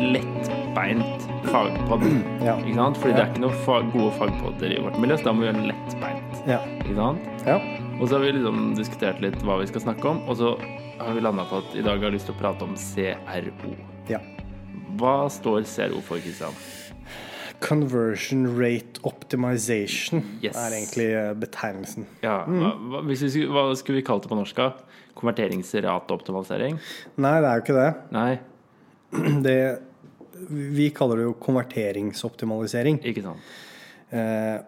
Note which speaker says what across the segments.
Speaker 1: lettbeint fagpod.
Speaker 2: Mm, Ja.
Speaker 1: Ikke sant? Fordi det
Speaker 2: Ja.
Speaker 1: er ikke noen fa gode fagpodder i vårt miljø, så da må vi gjøre det lettbeint.
Speaker 2: Ja.
Speaker 1: Ikke sant?
Speaker 2: ja.
Speaker 1: Og så har vi liksom diskutert litt hva vi skal snakke om, og så har vi landa på at i dag har jeg lyst til å prate om CRO.
Speaker 2: ja.
Speaker 1: Hva står CRO for, Kristian?
Speaker 2: Conversion rate optimization
Speaker 1: Yes.
Speaker 2: er egentlig eh, betegnelsen.
Speaker 1: Ja, hva, hva, hvis vi, skulle- hva skulle vi kalt det på norsk? da? Konverteringsrateoptimalisering?
Speaker 2: Nei, det er jo ikke det.
Speaker 1: Nei,
Speaker 2: det vi kaller det jo konverteringsoptimalisering.
Speaker 1: ikke sant.
Speaker 2: Eh,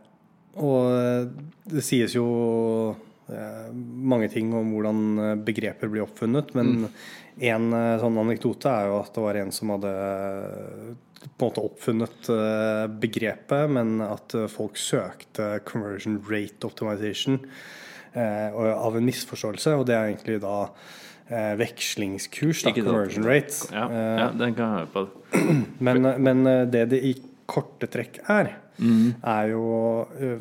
Speaker 2: og eh, det sies jo eh, mange ting om hvordan eh, begreper blir oppfunnet,
Speaker 1: Mm.
Speaker 2: men en eh, sånn anekdote er jo at det var en som hadde eh, på en måte oppfunnet eh, begrepet, men at eh, folk søkte conversion rate optimization eh, og- av en misforståelse, og det er egentlig da eh, vekslingskurs, da,
Speaker 1: Ikke sant.
Speaker 2: conversion rate.
Speaker 1: Ja,
Speaker 2: Eh,
Speaker 1: ja, den kan jeg høre på.
Speaker 2: men, men eh, det det i korte trekk er,
Speaker 1: Mm.
Speaker 2: er jo eh,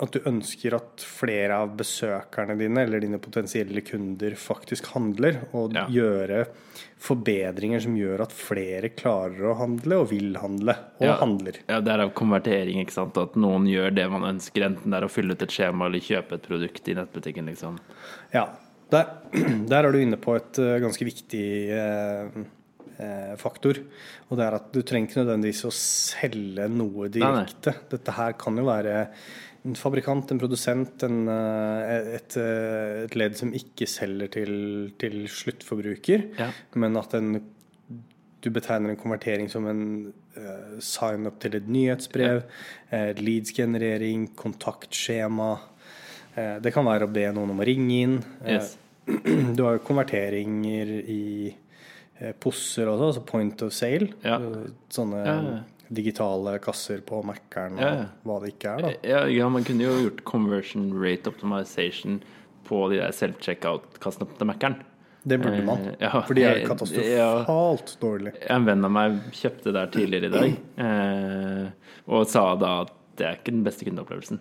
Speaker 2: at du ønsker at flere av besøkerne dine eller dine potensielle kunder faktisk handler, og
Speaker 1: Ja.
Speaker 2: gjøre forbedringer som gjør at flere klarer å handle og vil handle, og
Speaker 1: Ja.
Speaker 2: handler.
Speaker 1: Ja, det er av konvertering, ikke sant. At noen gjør det man ønsker, enten det er å fylle ut et skjema eller kjøpe et produkt i nettbutikken, liksom.
Speaker 2: Ja. Der, der er du inne på et eh, ganske viktig eh, eh, faktor. Og det er at du trenger ikke nødvendigvis å selge noe
Speaker 1: nei.
Speaker 2: direkte. Dette her kan jo være en fabrikant, en produsent, en, eh, et, eh, et ledd som ikke selger til, til sluttforbruker,
Speaker 1: Ja.
Speaker 2: men at en du betegner en konvertering som en eh, sign-up til et nyhetsbrev, eh, leads-generering, kontaktskjema. Eh, det kan være å be noen om å ringe inn. Eh,
Speaker 1: Yes.
Speaker 2: du har jo konverteringer i eh, posser også, altså point of sale.
Speaker 1: Ja.
Speaker 2: Eh, Sånne
Speaker 1: Ja, ja.
Speaker 2: digitale kasser på Mac-eren og
Speaker 1: Ja, Eh, ja.
Speaker 2: hva det ikke er. da.
Speaker 1: Ja, ja, man kunne jo gjort conversion rate optimization på de der self-checkout-kassene til Mac-en.
Speaker 2: Det burde man,
Speaker 1: Eh, ja,
Speaker 2: for de er
Speaker 1: jeg- ja.
Speaker 2: katastrofalt dårlige.
Speaker 1: En venn av meg kjøpte der tidligere i dag, eh, og sa da at det er ikke den beste kundeopplevelsen.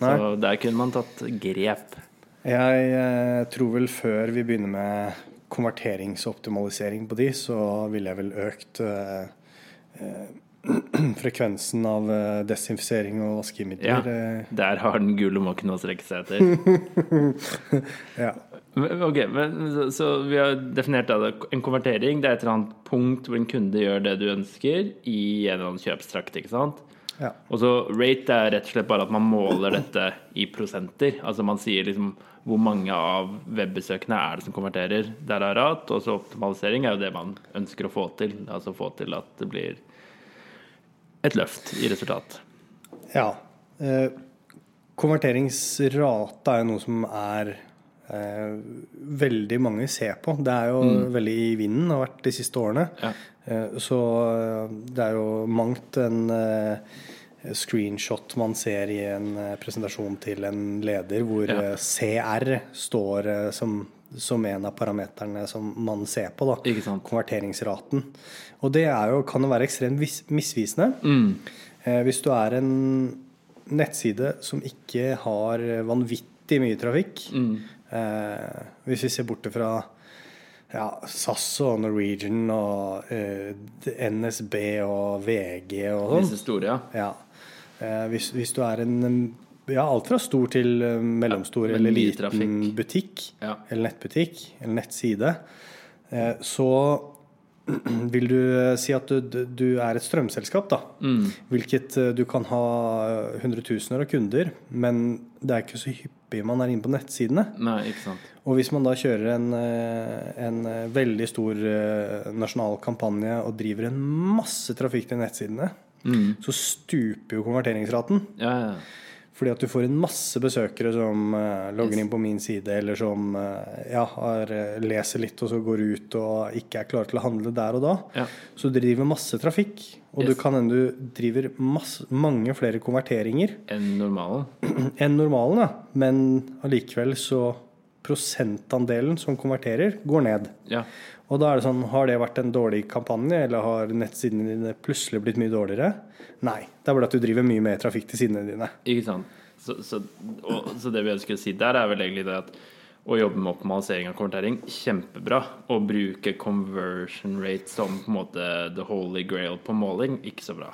Speaker 1: Så der kunne man tatt grep.
Speaker 2: Jeg eh, tror vel før vi begynner med konverteringsoptimalisering på de, så ville jeg vel økt eh, eh, frekvensen av eh, desinfisering og
Speaker 1: Ja,
Speaker 2: vaskemidler. eh,
Speaker 1: der har den gule måken å strekke seg etter.
Speaker 2: Ja.
Speaker 1: Men- Ok, men så, så vi har definert da det. En konvertering det er et eller annet punkt hvor en kunde gjør det du ønsker i en eller annen kjøpstrakt. ikke sant?
Speaker 2: Ja.
Speaker 1: Og så rate er rett og slett bare at man måler dette i prosenter. Altså man sier liksom hvor mange av webbesøkene er det som konverterer. Der er rat, og så optimalisering er jo det man ønsker å få til. Altså få til at det blir et løft i resultat.
Speaker 2: Ja. Eh, konverteringsrate er jo noe som er eh, veldig mange ser på. Det er jo veldig i vinden, har vært de siste årene.
Speaker 1: Mm. Ja.
Speaker 2: Eh, så eh, det er jo mangt en eh, screenshot man ser i en eh, presentasjon til en leder, hvor
Speaker 1: Ja.
Speaker 2: eh, CR står eh, som som en av parameterne som man ser på, da.
Speaker 1: Ikke sant.
Speaker 2: konverteringsraten. Og det er jo, kan jo være ekstremt vis- misvisende. Eh, Hvis du er en nettside som ikke har vanvittig mye trafikk eh, Hvis vi ser bort fra ja, SAS og Norwegian og eh, NSB og VG og sånn.
Speaker 1: Disse store, ja.
Speaker 2: Ja. Eh, hvis, hvis du er en ja, alt fra stor til eh, mellomstor
Speaker 1: Ja, men
Speaker 2: eller
Speaker 1: mye
Speaker 2: liten
Speaker 1: trafikk.
Speaker 2: butikk
Speaker 1: Ja.
Speaker 2: eller nettbutikk eller nettside, eh, så vil du eh, si at du, du er et strømselskap, da.
Speaker 1: Mm.
Speaker 2: Hvilket eh, du kan ha eh, hundretusener av kunder, men det er ikke så hyppig man er inne på nettsidene.
Speaker 1: Nei, ikke sant.
Speaker 2: Og hvis man da kjører en, eh, en eh, veldig stor eh, nasjonal kampanje og driver en masse trafikk til nettsidene,
Speaker 1: Mm.
Speaker 2: så stuper jo konverteringsraten.
Speaker 1: Ja, ja, ja.
Speaker 2: Fordi at du får en masse besøkere som eh, logger inn på min side, eller som eh, ja, har, eh, leser litt og så går ut og ikke er klare til å handle der og da.
Speaker 1: Ja.
Speaker 2: Så du driver masse trafikk, og
Speaker 1: Yes.
Speaker 2: du kan hende du driver masse, mange flere konverteringer
Speaker 1: Enn normalen.
Speaker 2: enn normalen, da. men allikevel så prosentandelen som konverterer, går ned.
Speaker 1: Ja.
Speaker 2: Og da er det sånn, har det vært en dårlig kampanje, eller har nettsidene dine plutselig blitt mye dårligere? Nei. Det er bare at du driver mye mer trafikk til sidene dine.
Speaker 1: Ikke sant. Så, så, og, så det vi ønsker å si der, er vel egentlig det at å jobbe med optimalisering av konvertering kjempebra. Å bruke conversion rate som på en måte the holy grail på måling, ikke så bra.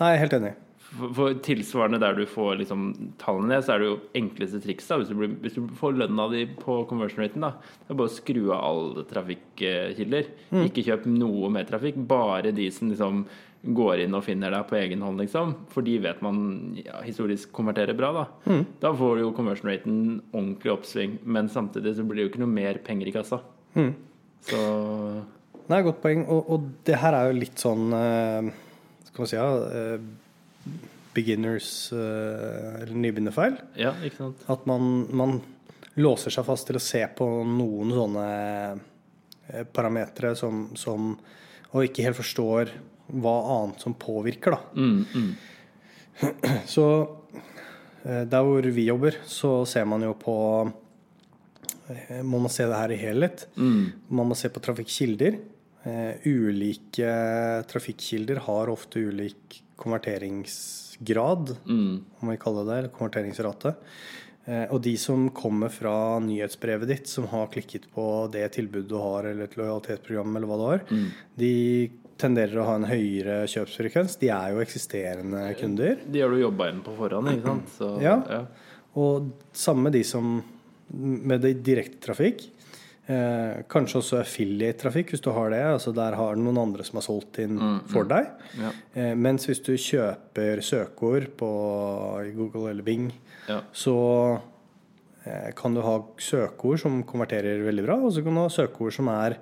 Speaker 2: Nei, helt enig.
Speaker 1: For, for tilsvarende der du får liksom tallene ned, så er det jo enkleste trikset da, hvis, du blir, hvis du får lønna di på conversion raten, da, det er bare å skru av alle trafikkilder. Ikke kjøp noe mer trafikk, bare de som liksom går inn og finner deg på egen hånd, liksom. For de vet man ja, historisk konverterer bra, da. Da får du jo conversion raten ordentlig oppsving, men samtidig så blir det jo ikke noe mer penger i kassa. Så
Speaker 2: Nei, godt poeng. Og, og det her er jo litt sånn eh, Skal man si ja, eh, beginners eh, eller nybegynnerfeil.
Speaker 1: ja, ikke sant.
Speaker 2: At man, man låser seg fast til å se på noen sånne eh, parametere som, som Og ikke helt forstår hva annet som påvirker, da.
Speaker 1: Mm, mm.
Speaker 2: Så eh, der hvor vi jobber, så ser man jo på eh, Må man se det her i helhet.
Speaker 1: mm,
Speaker 2: Man må se på trafikkilder. Eh, Ulike trafikkilder har ofte ulik konverteringsgrad,
Speaker 1: mm.
Speaker 2: om vi kaller det, eller konverteringsrate. Eh, Og de som kommer fra nyhetsbrevet ditt, som har klikket på det tilbudet du har, eller et lojalitetsprogram, eller hva du har, de tenderer å ha en høyere kjøpsfrekvens. De er jo eksisterende kunder.
Speaker 1: De har du jobba inn på forhånd, ikke sant? Så,
Speaker 2: Ja. Og samme med de som med det direkte trafikk. Eh, kanskje også affiliate-trafikk, hvis du har det. altså Der har du noen andre som har solgt inn for deg.
Speaker 1: Ja.
Speaker 2: Eh, mens hvis du kjøper søkeord på i Google eller Bing,
Speaker 1: Ja.
Speaker 2: så eh, kan du ha søkeord som konverterer veldig bra, og så kan du ha søkeord som er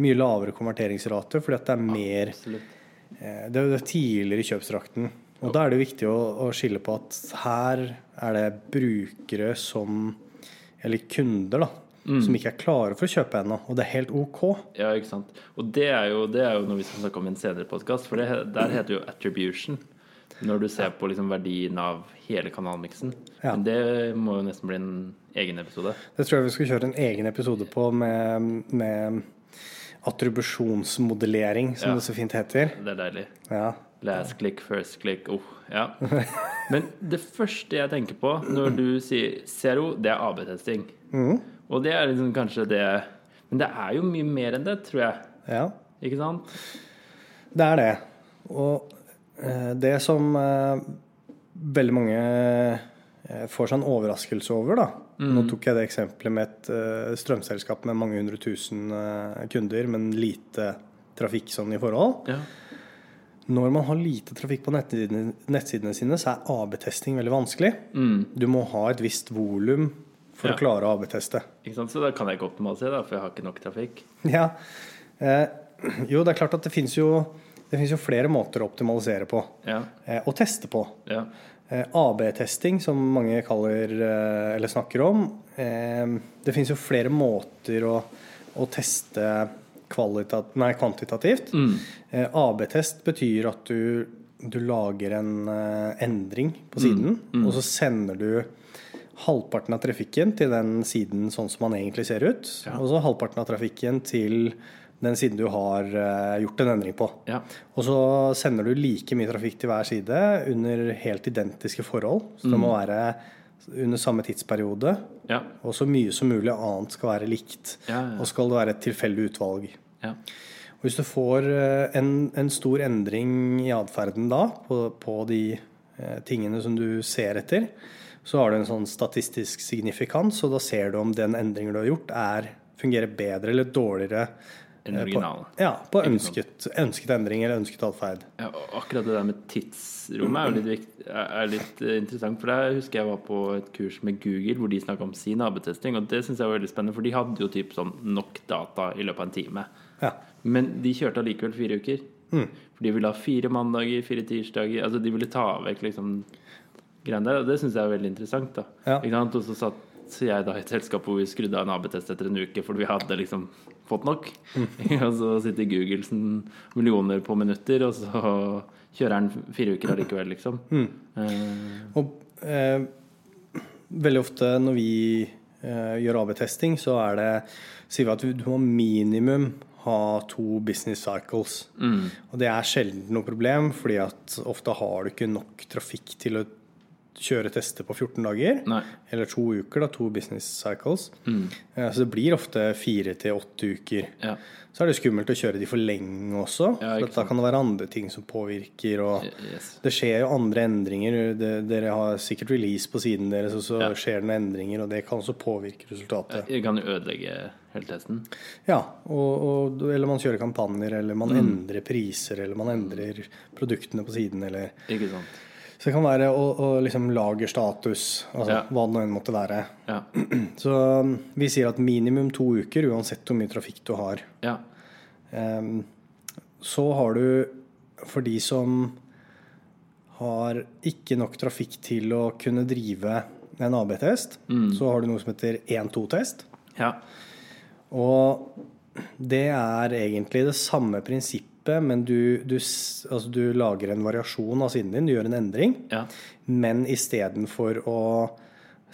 Speaker 2: mye lavere konverteringsrate fordi at det er mer
Speaker 1: Absolutt.
Speaker 2: Eh, Det er jo det tidligere i kjøpsdrakten. Og da er det viktig å, å skille på at her er det brukere som Eller kunder, da. Som ikke er klare for å kjøpe ennå. Og det er helt OK.
Speaker 1: Ja, ikke sant. Og det er jo, det er jo noe vi skal snakke om i en senere podkast, for det, der heter det jo attribution. Når du ser på liksom verdien av hele kanalmiksen.
Speaker 2: Ja.
Speaker 1: Men det må jo nesten bli en egen episode.
Speaker 2: Det tror jeg vi skal kjøre en egen episode på med, med attribusjonsmodellering, som
Speaker 1: Ja.
Speaker 2: det så fint heter.
Speaker 1: Det er deilig.
Speaker 2: Ja.
Speaker 1: Last click, first click, oh, ja. Men det første jeg tenker på når du sier zero, det er AB-testing.
Speaker 2: Mm.
Speaker 1: Og det er liksom kanskje det Men det er jo mye mer enn det, tror jeg.
Speaker 2: ja.
Speaker 1: Ikke sant?
Speaker 2: Det er det. Og eh, det som eh, veldig mange eh, får seg en overraskelse over, da Nå tok jeg det eksempelet med et eh, strømselskap med mange hundre tusen eh, kunder, men lite trafikk sånn i forhold.
Speaker 1: Ja.
Speaker 2: Når man har lite trafikk på nettsidene, nettsidene sine, så er AB-testing veldig vanskelig. Du må ha et visst volum for
Speaker 1: Ja.
Speaker 2: å klare å AB-teste.
Speaker 1: Ikke sant? Så da kan jeg ikke optimalisere, da, for jeg har ikke nok trafikk.
Speaker 2: Ja. Eh, jo, det er klart at det fins jo, det finnes jo flere måter å optimalisere på
Speaker 1: Ja,
Speaker 2: eh, og teste på.
Speaker 1: ja.
Speaker 2: Eh, AB-testing, som mange kaller eh, eller snakker om. Eh, Det finnes jo flere måter å, å teste kvalitat, nei, kvantitativt. Eh, AB-test betyr at du, du lager en eh, endring på siden, og så sender du halvparten av trafikken til den siden sånn som man egentlig ser ut, og så halvparten av trafikken til den siden du har eh, gjort en endring på.
Speaker 1: ja.
Speaker 2: Og så sender du like mye trafikk til hver side under helt identiske forhold. Så
Speaker 1: Mm.
Speaker 2: det må være under samme tidsperiode.
Speaker 1: ja.
Speaker 2: Og så mye som mulig annet skal være likt.
Speaker 1: Ja, ja.
Speaker 2: Og skal det være et tilfeldig utvalg.
Speaker 1: ja.
Speaker 2: Og hvis du får eh, en, en stor endring i atferden da, på, på de eh, tingene som du ser etter, så har du en sånn statistisk signifikans, og da ser du om den endringen du har gjort, er, fungerer bedre eller dårligere
Speaker 1: Enn
Speaker 2: eh,
Speaker 1: originalen.
Speaker 2: På, ja, på ønsket, ønsket endring eller ønsket atferd.
Speaker 1: Ja, og akkurat det der med tidsrommet er jo litt, vikt, er er litt eh, interessant. For der husker jeg var på et kurs med Google hvor de snakka om sin AB-testing. Og det syns jeg var veldig spennende, for de hadde jo typ sånn nok data i løpet av en time.
Speaker 2: Ja.
Speaker 1: Men de kjørte allikevel fire uker. For de ville ha fire mandager, fire tirsdager Altså de ville ta vekk liksom greiene der. Og det syns jeg er veldig interessant, da.
Speaker 2: Ja.
Speaker 1: Ikke sant? Og så satt jeg da i et selskap hvor vi skrudde av en AB-test etter en uke fordi vi hadde liksom fått nok. og så sitter Google sånn millioner på minutter, og så kjører han fire uker allikevel, liksom. Eh,
Speaker 2: Og eh, veldig ofte når vi eh, gjør AB-testing, så er det sier vi at du må minimum ha to business cycles.
Speaker 1: Mm.
Speaker 2: Og det er sjelden noe problem, fordi at ofte har du ikke nok trafikk til å kjøre tester på 14 dager.
Speaker 1: Nei.
Speaker 2: Eller to uker, da, to business cycles.
Speaker 1: Mm.
Speaker 2: Eh, Så det blir ofte fire til åtte uker.
Speaker 1: Ja.
Speaker 2: Så er det skummelt å kjøre de for lenge også.
Speaker 1: Ja,
Speaker 2: for
Speaker 1: ikke
Speaker 2: at da kan det være andre ting som påvirker. Og
Speaker 1: Yes.
Speaker 2: det skjer jo andre endringer. Det- Dere har sikkert release på siden deres, og så
Speaker 1: Ja.
Speaker 2: skjer det noen endringer, og det kan også påvirke resultatet.
Speaker 1: Jeg kan jo ødelegge hele testen.
Speaker 2: Ja, og, og, eller man kjører kampanjer, eller
Speaker 1: Mm.
Speaker 2: man endrer priser, eller man endrer produktene på siden, eller
Speaker 1: Ikke sant.
Speaker 2: Så det kan være å, å liksom lagerstatus, altså
Speaker 1: Ja.
Speaker 2: hva det nå enn måtte være.
Speaker 1: Ja.
Speaker 2: Så um, vi sier at minimum to uker, uansett hvor mye trafikk du har.
Speaker 1: ja.
Speaker 2: Ehm, så har du for de som har ikke nok trafikk til å kunne drive en AB-test,
Speaker 1: Mm.
Speaker 2: så har du noe som heter 1-2-test.
Speaker 1: Ja.
Speaker 2: Og det er egentlig det samme prinsippet, men du, du, s- altså du lager en variasjon av siden din, du gjør en endring.
Speaker 1: Ja.
Speaker 2: Men istedenfor å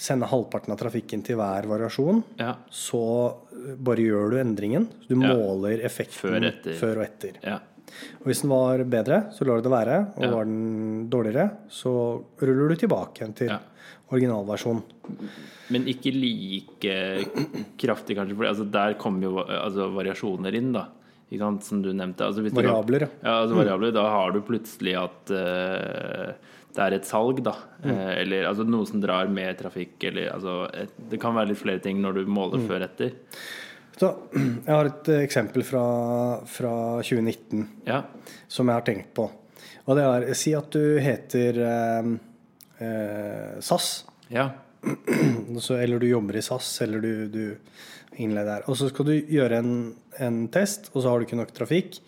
Speaker 2: sende halvparten av trafikken til hver variasjon,
Speaker 1: Ja.
Speaker 2: så bare gjør du endringen. Du
Speaker 1: Ja.
Speaker 2: måler effekten
Speaker 1: Før etter.
Speaker 2: før og etter.
Speaker 1: Ja.
Speaker 2: Og hvis den var bedre, så lar du det være. Og
Speaker 1: Ja.
Speaker 2: var den dårligere, så ruller du tilbake igjen til
Speaker 1: Ja.
Speaker 2: originalversjonen.
Speaker 1: Men ikke like kraftig, kanskje. For altså, der kommer jo altså, variasjoner inn, da. Ikke sant? Som du nevnte. Altså, hvis du-
Speaker 2: Variabler, ja.
Speaker 1: Ja, altså variabler. Da har du plutselig at eh, det er et salg, da. Eh, eller altså, noe som drar mer trafikk, eller altså et, Det kan være litt flere ting når du måler før etter.
Speaker 2: Så jeg har et eh, eksempel fra, fra 2019.
Speaker 1: Ja.
Speaker 2: som jeg har tenkt på. Og det er Si at du heter eh, eh, SAS,
Speaker 1: Ja.
Speaker 2: så, eller du jobber i SAS, eller du, du innleder der. Og så skal du gjøre en, en test, og så har du ikke nok trafikk.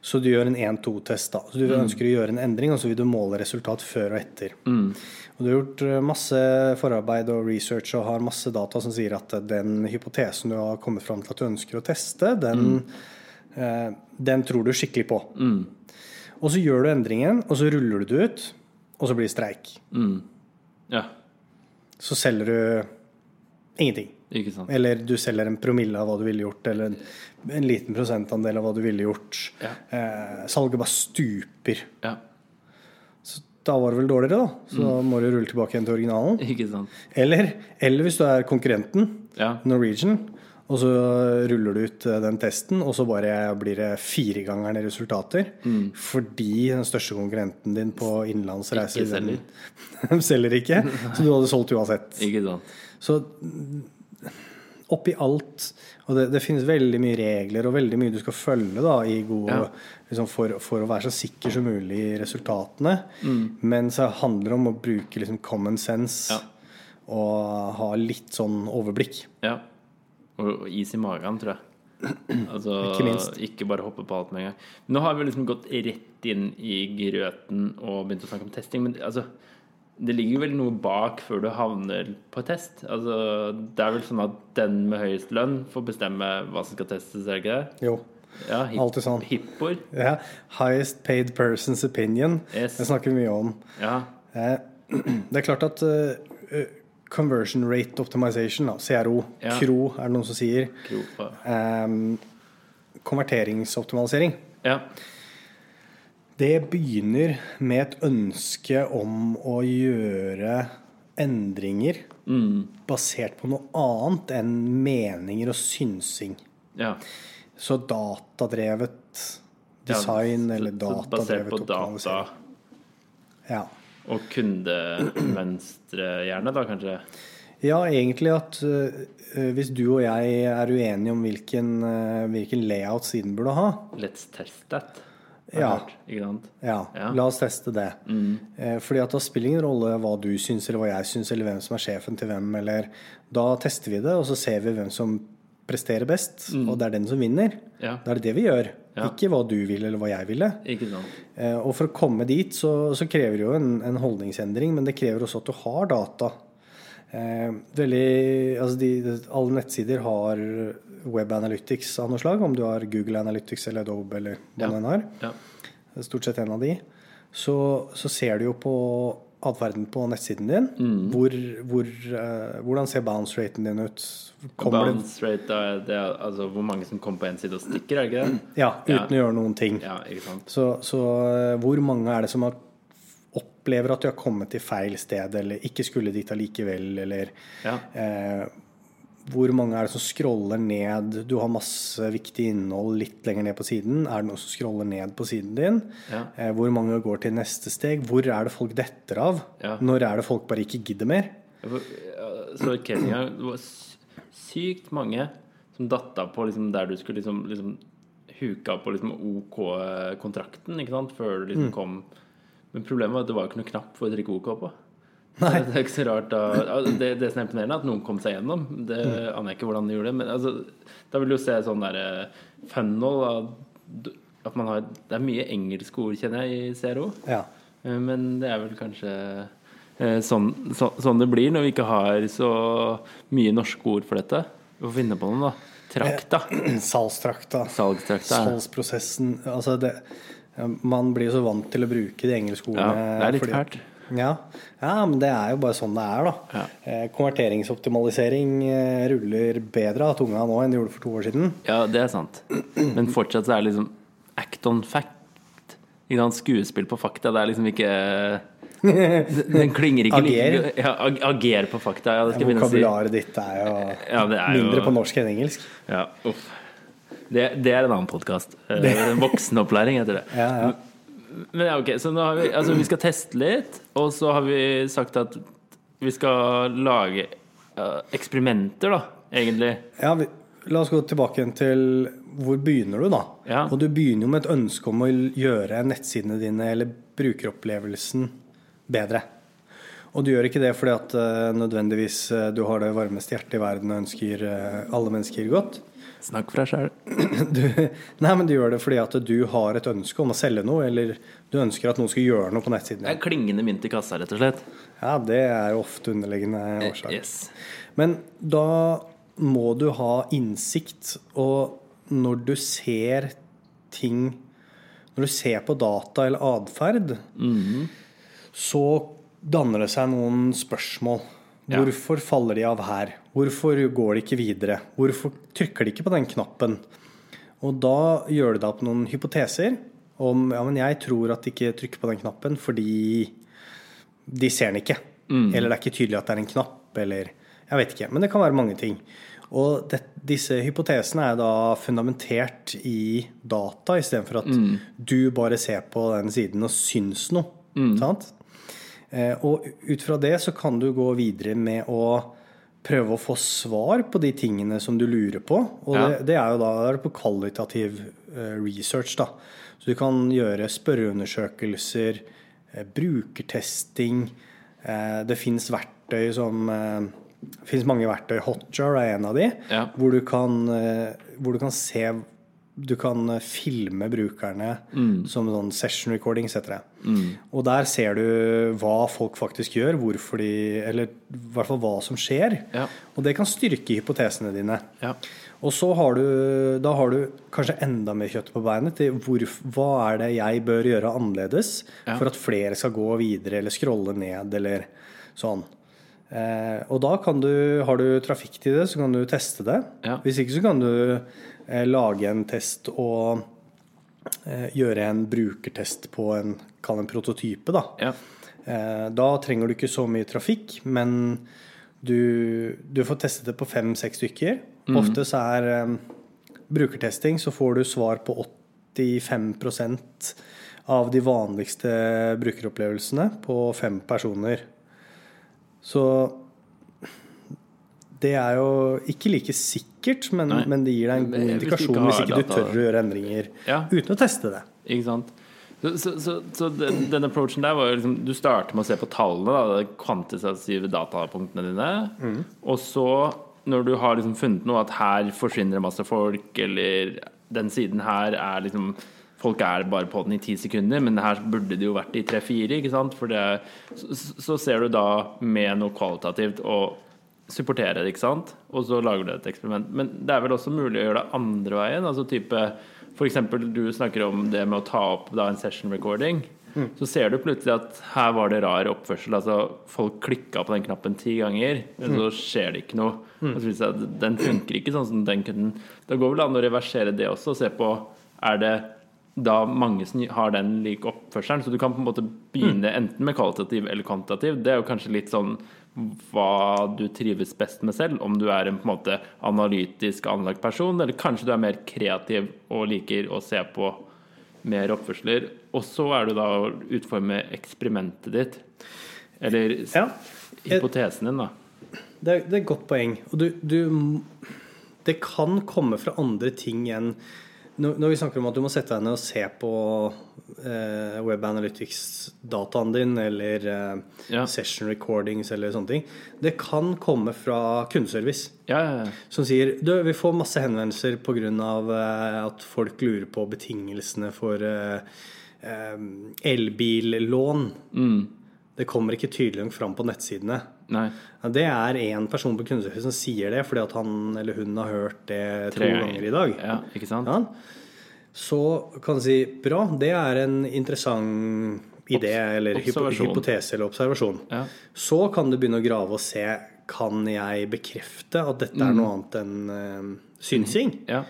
Speaker 2: Så du gjør en 1-2-test, da. Så du ønsker å gjøre en endring, og så vil du måle resultat før og etter. Og du har gjort eh, masse forarbeid og research og har masse data som sier at eh, den hypotesen du har kommet fram til at du ønsker å teste, den, eh, den tror du skikkelig på. Og så gjør du endringen, og så ruller du det ut, og så blir det streik.
Speaker 1: ja.
Speaker 2: Så selger du ingenting.
Speaker 1: Ikke sant.
Speaker 2: Eller du selger en promille av hva du ville gjort, eller en, en liten prosentandel av hva du ville gjort.
Speaker 1: Ja.
Speaker 2: Eh, salget bare stuper.
Speaker 1: Ja.
Speaker 2: Så da var det vel dårligere, da. Så
Speaker 1: Mm.
Speaker 2: da må du rulle tilbake igjen til originalen.
Speaker 1: Ikke sant.
Speaker 2: Eller, eller hvis du er konkurrenten,
Speaker 1: Ja.
Speaker 2: Norwegian, og så ruller du ut eh, den testen, og så bare blir det firegangeren i resultater.
Speaker 1: Mm.
Speaker 2: Fordi den største konkurrenten din på innenlandsreiser
Speaker 1: Ikke selger.
Speaker 2: den- selger ikke. Så du hadde solgt uansett.
Speaker 1: Ikke sant.
Speaker 2: Så mm, oppi alt Og det, det finnes veldig mye regler og veldig mye du skal følge da, i gode,
Speaker 1: Ja.
Speaker 2: liksom for, for å være så sikker som mulig i resultatene.
Speaker 1: Mm.
Speaker 2: Men så handler det om å bruke liksom common sense
Speaker 1: Ja.
Speaker 2: og ha litt sånn overblikk.
Speaker 1: Ja. Og, og is i magen, tror jeg. Altså,
Speaker 2: Ikke minst.
Speaker 1: Ikke bare hoppe på alt med en gang. Nå har vi liksom gått rett inn i grøten og begynt å snakke om testing, men altså det ligger jo vel noe bak før du havner på test. Altså, det er vel sånn at den med høyest lønn får bestemme hva som skal testes, er det ikke det?
Speaker 2: Jo.
Speaker 1: Ja, hip-
Speaker 2: Alltid sånn.
Speaker 1: Hippoer.
Speaker 2: Ja. Highest paid person's opinion.
Speaker 1: Yes.
Speaker 2: Det snakker vi mye om.
Speaker 1: Ja.
Speaker 2: Eh, Det er klart at eh, conversion rate optimization, da, CRO,
Speaker 1: Ja.
Speaker 2: KRO er det noen som sier,
Speaker 1: Kropa.
Speaker 2: Ehm, konverteringsoptimalisering.
Speaker 1: Ja.
Speaker 2: Det begynner med et ønske om å gjøre endringer
Speaker 1: Mm.
Speaker 2: basert på noe annet enn meninger og synsing.
Speaker 1: ja.
Speaker 2: Så datadrevet design
Speaker 1: Ja,
Speaker 2: eller
Speaker 1: så- så Basert
Speaker 2: datadrevet
Speaker 1: på data
Speaker 2: optimalisering. Ja.
Speaker 1: og kundevenstre, gjerne, da kanskje?
Speaker 2: Ja, egentlig at øh, hvis du og jeg er uenige om hvilken, øh, hvilken layout siden burde ha,
Speaker 1: Let's test that. har jeg
Speaker 2: Ja.
Speaker 1: hørt, Ikke sant?
Speaker 2: Ja,
Speaker 1: Ja. Mm.
Speaker 2: la oss teste det. Eh, Fordi at da spiller ingen rolle hva du syns, eller hva jeg syns, eller hvem som er sjefen til hvem, eller Da tester vi det, og så ser vi hvem som presterer best, og det er den som vinner.
Speaker 1: Mm. Ja.
Speaker 2: Da er det det vi gjør.
Speaker 1: Ja.
Speaker 2: Ikke hva du vil, eller hva jeg ville.
Speaker 1: Ikke sant.
Speaker 2: Eh, Og for å komme dit, så, så krever det jo en, en holdningsendring, men det krever også at du har data. Eh, veldig, altså de, alle nettsider har web analytics av noe slag, om du har Google Analytics eller Adobe eller hva
Speaker 1: Ja.
Speaker 2: den har
Speaker 1: Ja.
Speaker 2: det er stort sett en av de, så, så ser du jo på atferden på nettsiden din. Hvor, hvor, eh, hvordan ser bounce raten din ut? Kommer det
Speaker 1: Bounce rate da, er- det er altså hvor mange som kommer på én side og stikker, er det ikke det?
Speaker 2: Ja, uten å gjøre noen ting.
Speaker 1: Ja, ikke sant.
Speaker 2: Så, så eh, hvor mange er det som har opp, opplever at de har kommet til feil sted, eller ikke skulle dit allikevel, eller
Speaker 1: Ja.
Speaker 2: eh, Hvor mange er det som scroller ned? Du har masse viktig innhold litt lenger ned på siden. Er det noen som scroller ned på siden din?
Speaker 1: Ja.
Speaker 2: Eh, hvor mange går til neste steg? Hvor er det folk detter av?
Speaker 1: Ja.
Speaker 2: Når er det folk bare ikke gidder mer?
Speaker 1: Jeg får- ja, Så i Kenya det var sy- sykt mange som datt av på liksom der du skulle liksom, liksom huka på liksom OK-kontrakten, ikke sant, før du liksom kom Men problemet var at det var jo ikke noe knapp for å trykke OK på.
Speaker 2: Nei.
Speaker 1: Det er ikke så rart da altså, det, det som er imponerende, er at noen kom seg gjennom. Det aner jeg ikke hvordan de gjorde det, men altså, da vil du jo se sånn der eh, funnel at, at man har Det er mye engelske ord, kjenner jeg, i CRO.
Speaker 2: Ja.
Speaker 1: Eh, Men det er vel kanskje eh, sånn, så, sånn det blir når vi ikke har så mye norske ord for dette. Vi får finne på noen, da. Trakta.
Speaker 2: Eh, Salgstrakta.
Speaker 1: Salgstrakta. er-
Speaker 2: Salgsprosessen Altså, det Man blir jo så vant til å bruke de engelske
Speaker 1: Ja,
Speaker 2: ordene.
Speaker 1: det er litt
Speaker 2: fordi-
Speaker 1: fælt.
Speaker 2: Ja. ja, men det er jo bare sånn det er, da.
Speaker 1: Ja.
Speaker 2: Eh, Konverteringsoptimalisering eh, ruller bedre av tunga nå enn det gjorde for to år siden.
Speaker 1: Ja, det er sant. Men fortsatt så er det liksom act on fact. Ikke sant? Skuespill på fakta. Det er liksom ikke Den klinger ikke
Speaker 2: Ager.
Speaker 1: like Ja, ag ager på fakta. Ja, det skal jeg begynne å si.
Speaker 2: Vokabularet ditt er jo
Speaker 1: Ja, det er jo-
Speaker 2: mindre på norsk enn engelsk.
Speaker 1: Ja, uff. Det, det er en annen podkast. Voksenopplæring heter det.
Speaker 2: Ja, ja.
Speaker 1: Men ja, ok, så nå har vi, altså, vi skal teste litt, og så har vi sagt at vi skal lage eh, eksperimenter, da, egentlig.
Speaker 2: Ja, vi, La oss gå tilbake igjen til hvor begynner du, da?
Speaker 1: Ja.
Speaker 2: Og du begynner jo med et ønske om å gjøre nettsidene dine eller brukeropplevelsen bedre. Og du gjør ikke det fordi at eh, nødvendigvis eh, du har det varmeste hjertet i verden og ønsker eh, alle mennesker godt.
Speaker 1: Snakk for deg sjæl.
Speaker 2: Du, nei, men du gjør det fordi at du har et ønske om å selge noe, eller du ønsker at noen skal gjøre noe på nettsiden
Speaker 1: Det er
Speaker 2: din.
Speaker 1: klingende mynt i kassa, rett og slett.
Speaker 2: Ja, det er jo ofte underliggende årsak.
Speaker 1: Yes.
Speaker 2: Men da må du ha innsikt, og når du ser ting Når du ser på data eller atferd, så danner det seg noen spørsmål.
Speaker 1: Ja.
Speaker 2: Hvorfor faller de av her? Hvorfor går de ikke videre? Hvorfor trykker de ikke på den knappen? Og da gjør du deg opp noen hypoteser om ja, men jeg tror at de ikke trykker på den knappen fordi de ser den ikke. Eller det er ikke tydelig at det er en knapp, eller Jeg vet ikke. Men det kan være mange ting. Og det, disse hypotesene er da fundamentert i data, istedenfor at du bare ser på den siden og syns noe. Sant? Eh, Og ut fra det så kan du gå videre med å prøve å få svar på de tingene som du lurer på. Og
Speaker 1: Ja.
Speaker 2: det, det er jo da da er det på kvalitativ eh, research, da. Så du kan gjøre spørreundersøkelser, eh, brukertesting. eh, Det fins verktøy som eh, Det fins mange verktøy. Hotjar er en av de.
Speaker 1: Ja.
Speaker 2: Hvor, du kan, eh, hvor du kan se Du kan eh, filme brukerne
Speaker 1: Mm.
Speaker 2: som sånn session recordings, heter det. Og der ser du hva folk faktisk gjør, hvorfor de Eller i hvert fall hva som skjer.
Speaker 1: Ja.
Speaker 2: Og det kan styrke hypotesene dine.
Speaker 1: Ja.
Speaker 2: Og så har du, da har du kanskje enda mer kjøtt på beinet til hvor, hva er det jeg bør gjøre annerledes
Speaker 1: Ja.
Speaker 2: for at flere skal gå videre eller scrolle ned eller sånn. Eh, og da kan du, har du trafikk til det, så kan du teste det.
Speaker 1: Ja.
Speaker 2: Hvis ikke så kan du eh, lage en test og eh, gjøre en brukertest på en, kall det en prototype, da.
Speaker 1: ja.
Speaker 2: Eh, Da trenger du ikke så mye trafikk, men du, du får testet det på fem-seks stykker.
Speaker 1: Mhm.
Speaker 2: Ofte så er eh, brukertesting, så får du svar på 85 av de vanligste brukeropplevelsene på fem personer. Så det er jo ikke like sikkert, men,
Speaker 1: Nei.
Speaker 2: men det gir deg en
Speaker 1: Men
Speaker 2: god
Speaker 1: hvis du ikke
Speaker 2: indikasjon
Speaker 1: har
Speaker 2: hvis ikke du
Speaker 1: data, da.
Speaker 2: tør å gjøre endringer
Speaker 1: Ja.
Speaker 2: uten å teste det.
Speaker 1: Ikke sant? Så, så, så, så den, den approachen der var jo liksom Du starter med å se på tallene, da, de kvantitative datapunktene dine. Og så, når du har liksom funnet noe, at her forsvinner det masse folk, eller den siden her er liksom Folk er bare på den i ti sekunder, men her burde det jo vært i tre-fire. ikke sant? For det, er- så, så- så ser du da med noe kvalitativt og supportere det, ikke sant? Og så lager du et eksperiment. Men det er vel også mulig å gjøre det andre veien? altså type, for eksempel, du snakker om det med å ta opp da, en session recording. Så ser du plutselig at her var det rar oppførsel. altså Folk klikka på den knappen ti ganger, men så skjer det ikke noe. Og så viser det seg at den funker ikke sånn som den kunden. Da går vel an å reversere det også og se på er det da mange som har den lik oppførselen. Så du kan på en måte begynne
Speaker 2: Mm.
Speaker 1: enten med kvalitativ eller kvantitativ. Det er jo kanskje litt sånn hva du trives best med selv. Om du er en på en måte analytisk anlagt person, eller kanskje du er mer kreativ og liker å se på mer oppførsler. Og så er det da å utforme eksperimentet ditt. Eller s-
Speaker 2: Ja,
Speaker 1: hypotesen din, da.
Speaker 2: det er, det er et godt poeng. Og du, du Det kan komme fra andre ting enn når, når vi snakker om at du må sette deg ned og se på eh, web analytics-dataen din eller eh,
Speaker 1: Ja.
Speaker 2: session recordings eller sånne ting, det kan komme fra kundeservice.
Speaker 1: Ja, ja, ja.
Speaker 2: som sier du, vi får masse henvendelser pga. eh, at folk lurer på betingelsene for eh, eh, elbillån. Det kommer ikke tydelig nok fram på nettsidene.
Speaker 1: Nei.
Speaker 2: Ja, Det er én person på kundeservice som sier det fordi at han eller hun har hørt det
Speaker 1: Tre
Speaker 2: to ganger i dag.
Speaker 1: Ja, ikke sant?
Speaker 2: Ja. Så kan du si bra, det er en interessant idé eller hypo-
Speaker 1: observasjon.
Speaker 2: hypotese eller observasjon.
Speaker 1: Ja.
Speaker 2: Så kan du begynne å grave og se kan jeg bekrefte at dette
Speaker 1: Mm.
Speaker 2: er noe annet enn eh, synsing.
Speaker 1: Ja.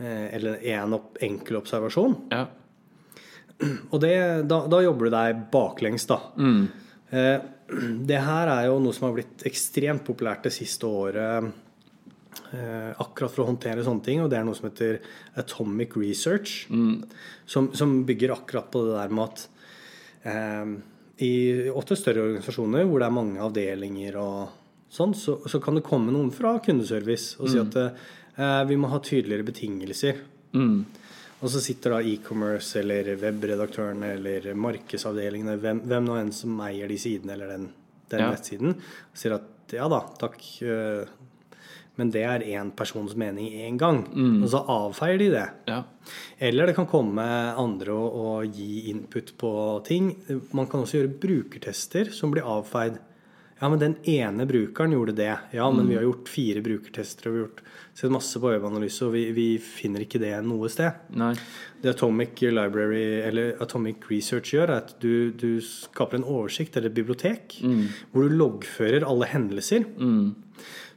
Speaker 2: Eh, eller en opp, enkel observasjon.
Speaker 1: ja.
Speaker 2: Og det, da, da jobber du deg baklengs, da.
Speaker 1: Mm,
Speaker 2: Eh, det her er jo noe som har blitt ekstremt populært det siste året. eh, akkurat for å håndtere sånne ting, og det er noe som heter Atomic Research. Som, som bygger akkurat på det der med at eh, i åtte større organisasjoner hvor det er mange avdelinger og sånn, så, så kan det komme noen fra kundeservice og si at eh, vi må ha tydeligere betingelser.
Speaker 1: mm,
Speaker 2: Og så sitter da e-commerce eller webredaktørene eller markedsavdelingene, hvem, hvem nå enn som eier de sidene eller den, den
Speaker 1: Ja.
Speaker 2: nettsiden, og sier at ja da, takk. eh, Men det er én persons mening én gang, og så avfeier de det.
Speaker 1: ja.
Speaker 2: Eller det kan komme andre og, og gi input på ting. Man kan også gjøre brukertester som blir avfeid. Ja, men den ene brukeren gjorde det. Ja, men vi har gjort fire brukertester og vi har gjort, sett masse på webanalyse, og vi, vi finner ikke det noe sted.
Speaker 1: Nei.
Speaker 2: Det Atomic Library, eller Atomic Research gjør, er at du, du skaper en oversikt eller et bibliotek
Speaker 1: Mm.
Speaker 2: hvor du loggfører alle hendelser.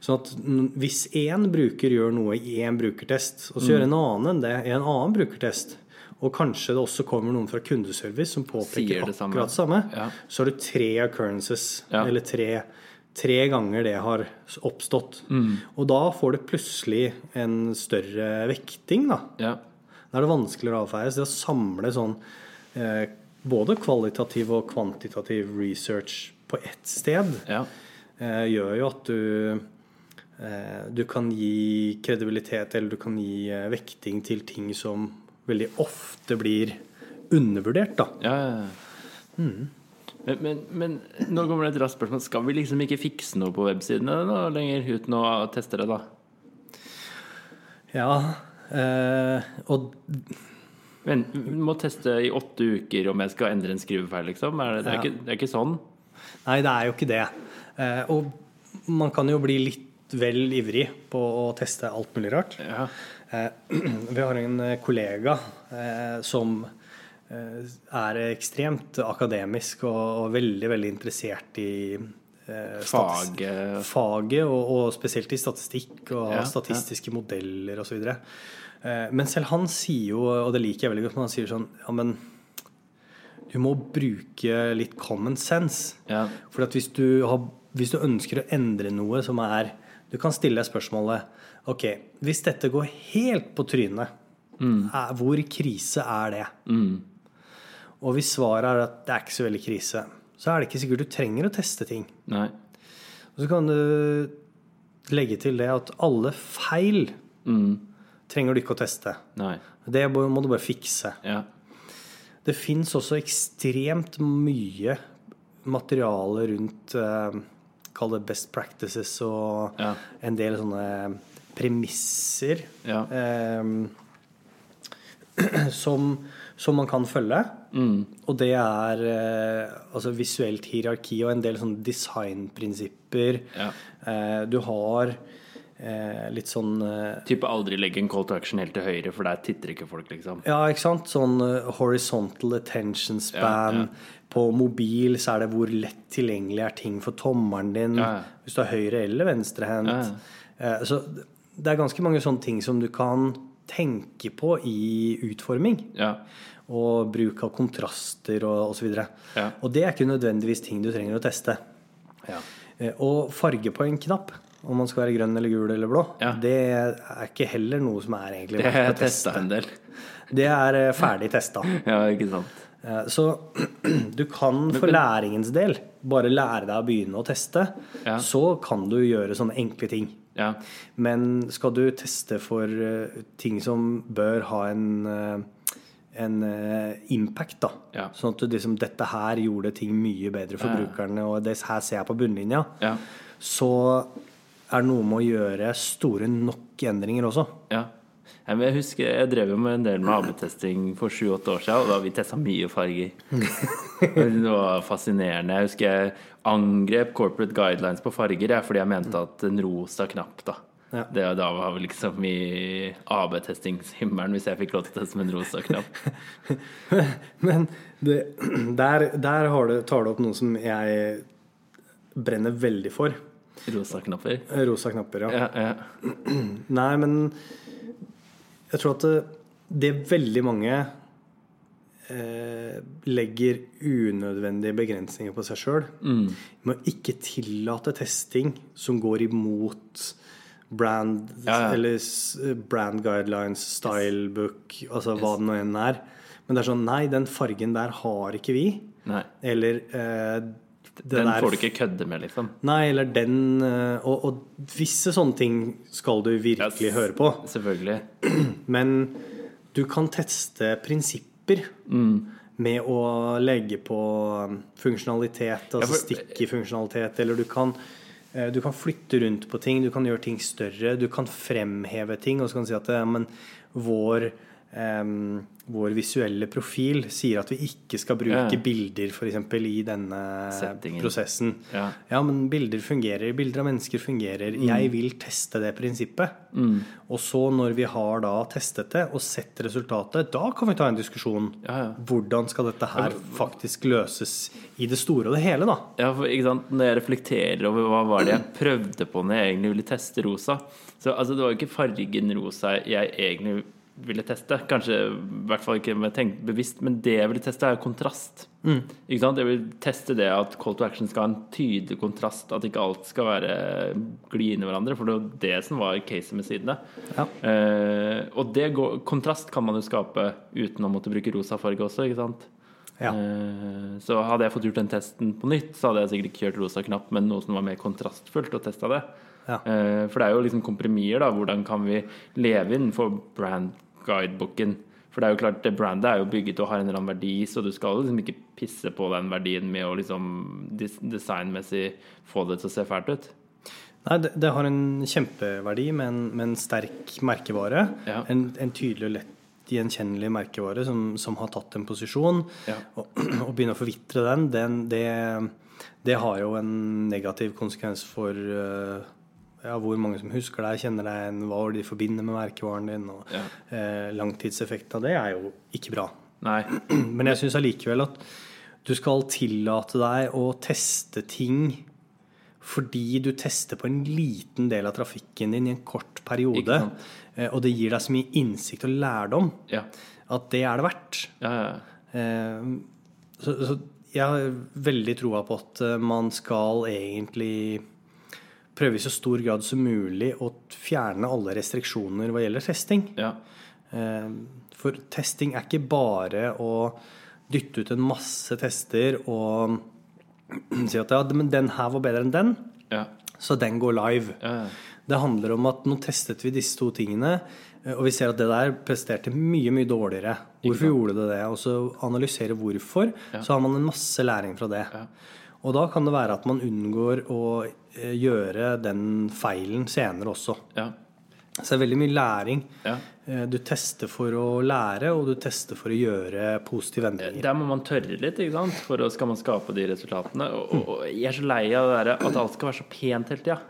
Speaker 2: Sånn at n- hvis én bruker gjør noe i én brukertest, og så
Speaker 1: Mm.
Speaker 2: gjør en annen enn det i en annen brukertest, og kanskje det også kommer noen fra kundeservice som påpeker
Speaker 1: Sier det samme.
Speaker 2: akkurat samme,
Speaker 1: Ja.
Speaker 2: så har du tre occurrences,
Speaker 1: Ja.
Speaker 2: eller tre, tre ganger det har s- oppstått.
Speaker 1: Mm.
Speaker 2: Og da får det plutselig en større vekting, da.
Speaker 1: Ja.
Speaker 2: Da er det vanskeligere å avfeie. Så det å samle sånn eh, både kvalitativ og kvantitativ research på ett sted
Speaker 1: Ja.
Speaker 2: eh, gjør jo at du eh, du kan gi kredibilitet eller du kan gi eh, vekting til ting som veldig ofte blir undervurdert, da.
Speaker 1: Ja, ja, ja. Men, men, men nå kommer det et raskt spørsmål. Skal vi liksom ikke fikse noe på websidene nå lenger uten å teste det, da?
Speaker 2: Ja, eh, og
Speaker 1: Men, vi må teste i åtte uker om jeg skal endre en skrivefeil, liksom? Er det, det, er
Speaker 2: Ja.
Speaker 1: ikke, det er ikke sånn?
Speaker 2: Nei, det er jo ikke det. Eh, og man kan jo bli litt vel ivrig på å teste alt mulig rart.
Speaker 1: Ja.
Speaker 2: Eh, Vi har en eh, kollega eh, som eh, er ekstremt akademisk og, og veldig, veldig interessert i eh, statis-
Speaker 1: Faget.
Speaker 2: faget og, og spesielt i statistikk og
Speaker 1: Ja, ja.
Speaker 2: statistiske modeller osv. Eh, Men selv han sier jo, og det liker jeg veldig godt, men han sier sånn Ja, men du må bruke litt common sense.
Speaker 1: Ja.
Speaker 2: For at hvis du, har, hvis du ønsker å endre noe som er Du kan stille deg spørsmålet Ok, hvis dette går helt på trynet, er, hvor krise er det? Og hvis svaret er at det er ikke så veldig krise, så er det ikke sikkert du trenger å teste ting.
Speaker 1: Nei.
Speaker 2: Og så kan du legge til det at alle feil trenger du ikke å teste.
Speaker 1: Nei.
Speaker 2: Det må du bare fikse.
Speaker 1: Ja.
Speaker 2: Det fins også ekstremt mye materiale rundt eh, Kall det best practices og
Speaker 1: Ja.
Speaker 2: en del sånne premisser
Speaker 1: Ja.
Speaker 2: eh, som, som man kan følge.
Speaker 1: Mm.
Speaker 2: Og det er eh, altså visuelt hierarki og en del sånne designprinsipper.
Speaker 1: Ja.
Speaker 2: Eh, du har eh, litt sånn eh,
Speaker 1: Type aldri legge en call to action helt til høyre, for der titter ikke folk, liksom.
Speaker 2: Ja, ikke sant? Sånn eh, horizontal attention span.
Speaker 1: Ja, ja.
Speaker 2: På mobil så er det hvor lett tilgjengelig er ting for tommelen din.
Speaker 1: Ja, ja.
Speaker 2: Hvis du har høyre- eller venstrehendt.
Speaker 1: Ja,
Speaker 2: Eh, Så det er ganske mange sånne ting som du kan tenker på i utforming.
Speaker 1: Ja.
Speaker 2: Og bruk av kontraster og osv. Og,
Speaker 1: Ja.
Speaker 2: ja. og det er ikke nødvendigvis ting du trenger å teste.
Speaker 1: Ja.
Speaker 2: Eh, Og farge på en knapp, om man skal være grønn eller gul eller blå,
Speaker 1: Ja.
Speaker 2: det er ikke heller noe som er egentlig
Speaker 1: Det har
Speaker 2: verdt
Speaker 1: jeg
Speaker 2: å
Speaker 1: testa
Speaker 2: teste.
Speaker 1: en del.
Speaker 2: Det er eh, ferdig testa.
Speaker 1: Ja, ikke sant.
Speaker 2: Eh, Så du kan for læringens del bare lære deg å begynne å teste.
Speaker 1: Ja.
Speaker 2: Så kan du gjøre sånne enkle ting.
Speaker 1: Ja.
Speaker 2: Men skal du teste for eh, ting som bør ha en, eh, en eh, impact, da.
Speaker 1: Ja.
Speaker 2: Sånn at du liksom, dette her gjorde ting mye bedre for
Speaker 1: Ja, ja.
Speaker 2: brukerne, og det her ser jeg på bunnlinja,
Speaker 1: Ja.
Speaker 2: så er det noe med å gjøre store nok endringer også.
Speaker 1: Ja. Nei, men Jeg husker jeg drev jo med en del med AB-testing for sju-åtte år siden, og da vi testa mye farger. Det var fascinerende. Jeg husker jeg angrep corporate guidelines på farger jeg, fordi jeg mente at en rosa knapp, da
Speaker 2: Ja.
Speaker 1: det, Da var vi liksom i AB-testingshimmelen, hvis jeg fikk lov til å teste med en rosa knapp.
Speaker 2: Men det, der, der har du, tar du opp noe som jeg brenner veldig for.
Speaker 1: Rosa knapper.
Speaker 2: Rosa knapper, ja.
Speaker 1: Ja, ja.
Speaker 2: Nei, men jeg tror at det, det veldig mange eh, legger unødvendige begrensninger på seg sjøl.
Speaker 1: Mm.
Speaker 2: Med å ikke tillate testing som går imot brand
Speaker 1: Ja, ja.
Speaker 2: eller s- brand guidelines, stylebook, altså hva det nå enn er. Men det er sånn Nei, den fargen der har ikke vi.
Speaker 1: Nei.
Speaker 2: Eller eh, det
Speaker 1: Den
Speaker 2: der
Speaker 1: får du ikke kødde med, liksom.
Speaker 2: Nei, eller den eh, og, og visse sånne ting skal du virkelig
Speaker 1: Yes.
Speaker 2: høre på.
Speaker 1: Selvfølgelig.
Speaker 2: Men du kan teste prinsipper
Speaker 1: Mm.
Speaker 2: med å legge på um, funksjonalitet, altså
Speaker 1: for-
Speaker 2: stikke funksjonalitet, eller du kan eh, du kan flytte rundt på ting, du kan gjøre ting større, du kan fremheve ting. Og så kan du si at eh, men vår, em, vår visuelle profil sier at vi ikke skal bruke
Speaker 1: Ja.
Speaker 2: bilder for eksempel, i denne
Speaker 1: Settingen.
Speaker 2: prosessen.
Speaker 1: Ja. Mm.
Speaker 2: Ja, men bilder fungerer. Bilder av mennesker fungerer. Jeg vil teste det prinsippet. Og så når vi har da testet det og sett resultatet, da kan vi ta en diskusjon.
Speaker 1: Ja, ja.
Speaker 2: Hvordan skal dette her faktisk løses i det store og det hele, da?
Speaker 1: Ja, for, ikke sant? Når jeg reflekterer over hva var det jeg prøvde på når jeg egentlig ville teste rosa Så altså, det var jo ikke fargen rosa jeg egentlig ville teste. Kanskje i hvert fall ikke med tenkt bevisst, men det jeg ville teste, er kontrast. Ikke sant? Jeg vil teste det at call to action skal ha en tydelig kontrast, at ikke alt skal være gli inn i hverandre, for det var det som var caset med sidene.
Speaker 2: Ja.
Speaker 1: Eh, og det går, kontrast kan man jo skape uten å måtte bruke rosa farge også, ikke sant?
Speaker 2: Ja.
Speaker 1: Eh, Så hadde jeg fått gjort den testen på nytt, så hadde jeg sikkert ikke kjørt rosa knapp, men noe som var mer kontrastfullt, og testa det.
Speaker 2: Ja.
Speaker 1: Eh, For det er jo liksom komprimier, da. Hvordan kan vi leve innenfor brand-guidebooken? For det er jo klart, det brandet er jo bygget og har en eller annen verdi, så du skal liksom ikke pisse på den verdien med å liksom dis- designmessig få det til å se fælt ut.
Speaker 2: Nei, det, det har en kjempeverdi med en, med en sterk merkevare.
Speaker 1: Ja.
Speaker 2: En, en tydelig og lett gjenkjennelig merkevare som, som har tatt en posisjon.
Speaker 1: Ja.
Speaker 2: Og, og begynne å forvitre den, den det, det har jo en negativ konsekvens for eh, ja, hvor mange som husker deg, kjenner deg igjen, hva de forbinder med merkevaren din. Og, eh, langtidseffekten av det er jo ikke bra.
Speaker 1: Nei.
Speaker 2: Men jeg syns allikevel at du skal tillate deg å teste ting fordi du tester på en liten del av trafikken din i en kort
Speaker 1: Ikke
Speaker 2: periode.
Speaker 1: sant.
Speaker 2: eh, Og det gir deg så mye innsikt og lærdom
Speaker 1: Ja.
Speaker 2: at det er det verdt.
Speaker 1: Ja, ja.
Speaker 2: Eh, Så, så jeg har veldig troa på at eh, man skal egentlig prøve i så stor grad som mulig å fjerne alle restriksjoner hva gjelder testing.
Speaker 1: ja.
Speaker 2: Eh, For testing er ikke bare å dytte ut en masse tester og si at ja, men den her var bedre enn den,
Speaker 1: ja.
Speaker 2: så den går live.
Speaker 1: ja. ja.
Speaker 2: Det handler om at nå testet vi disse to tingene, eh, og vi ser at det der presterte mye, mye dårligere. Hvorfor gjorde det det? Og så analysere hvorfor, så har man en masse læring fra det. Og da kan det være at man unngår å eh, gjøre den feilen senere også.
Speaker 1: ja.
Speaker 2: Så det er veldig mye læring.
Speaker 1: Ja.
Speaker 2: Eh, Du tester for å lære, og du tester for å gjøre positive endringer.
Speaker 1: Der må man tørre litt, ikke sant? For å skal man skape de resultatene. Og, og, og jeg er så lei av det der at alt skal være så pent hele tida.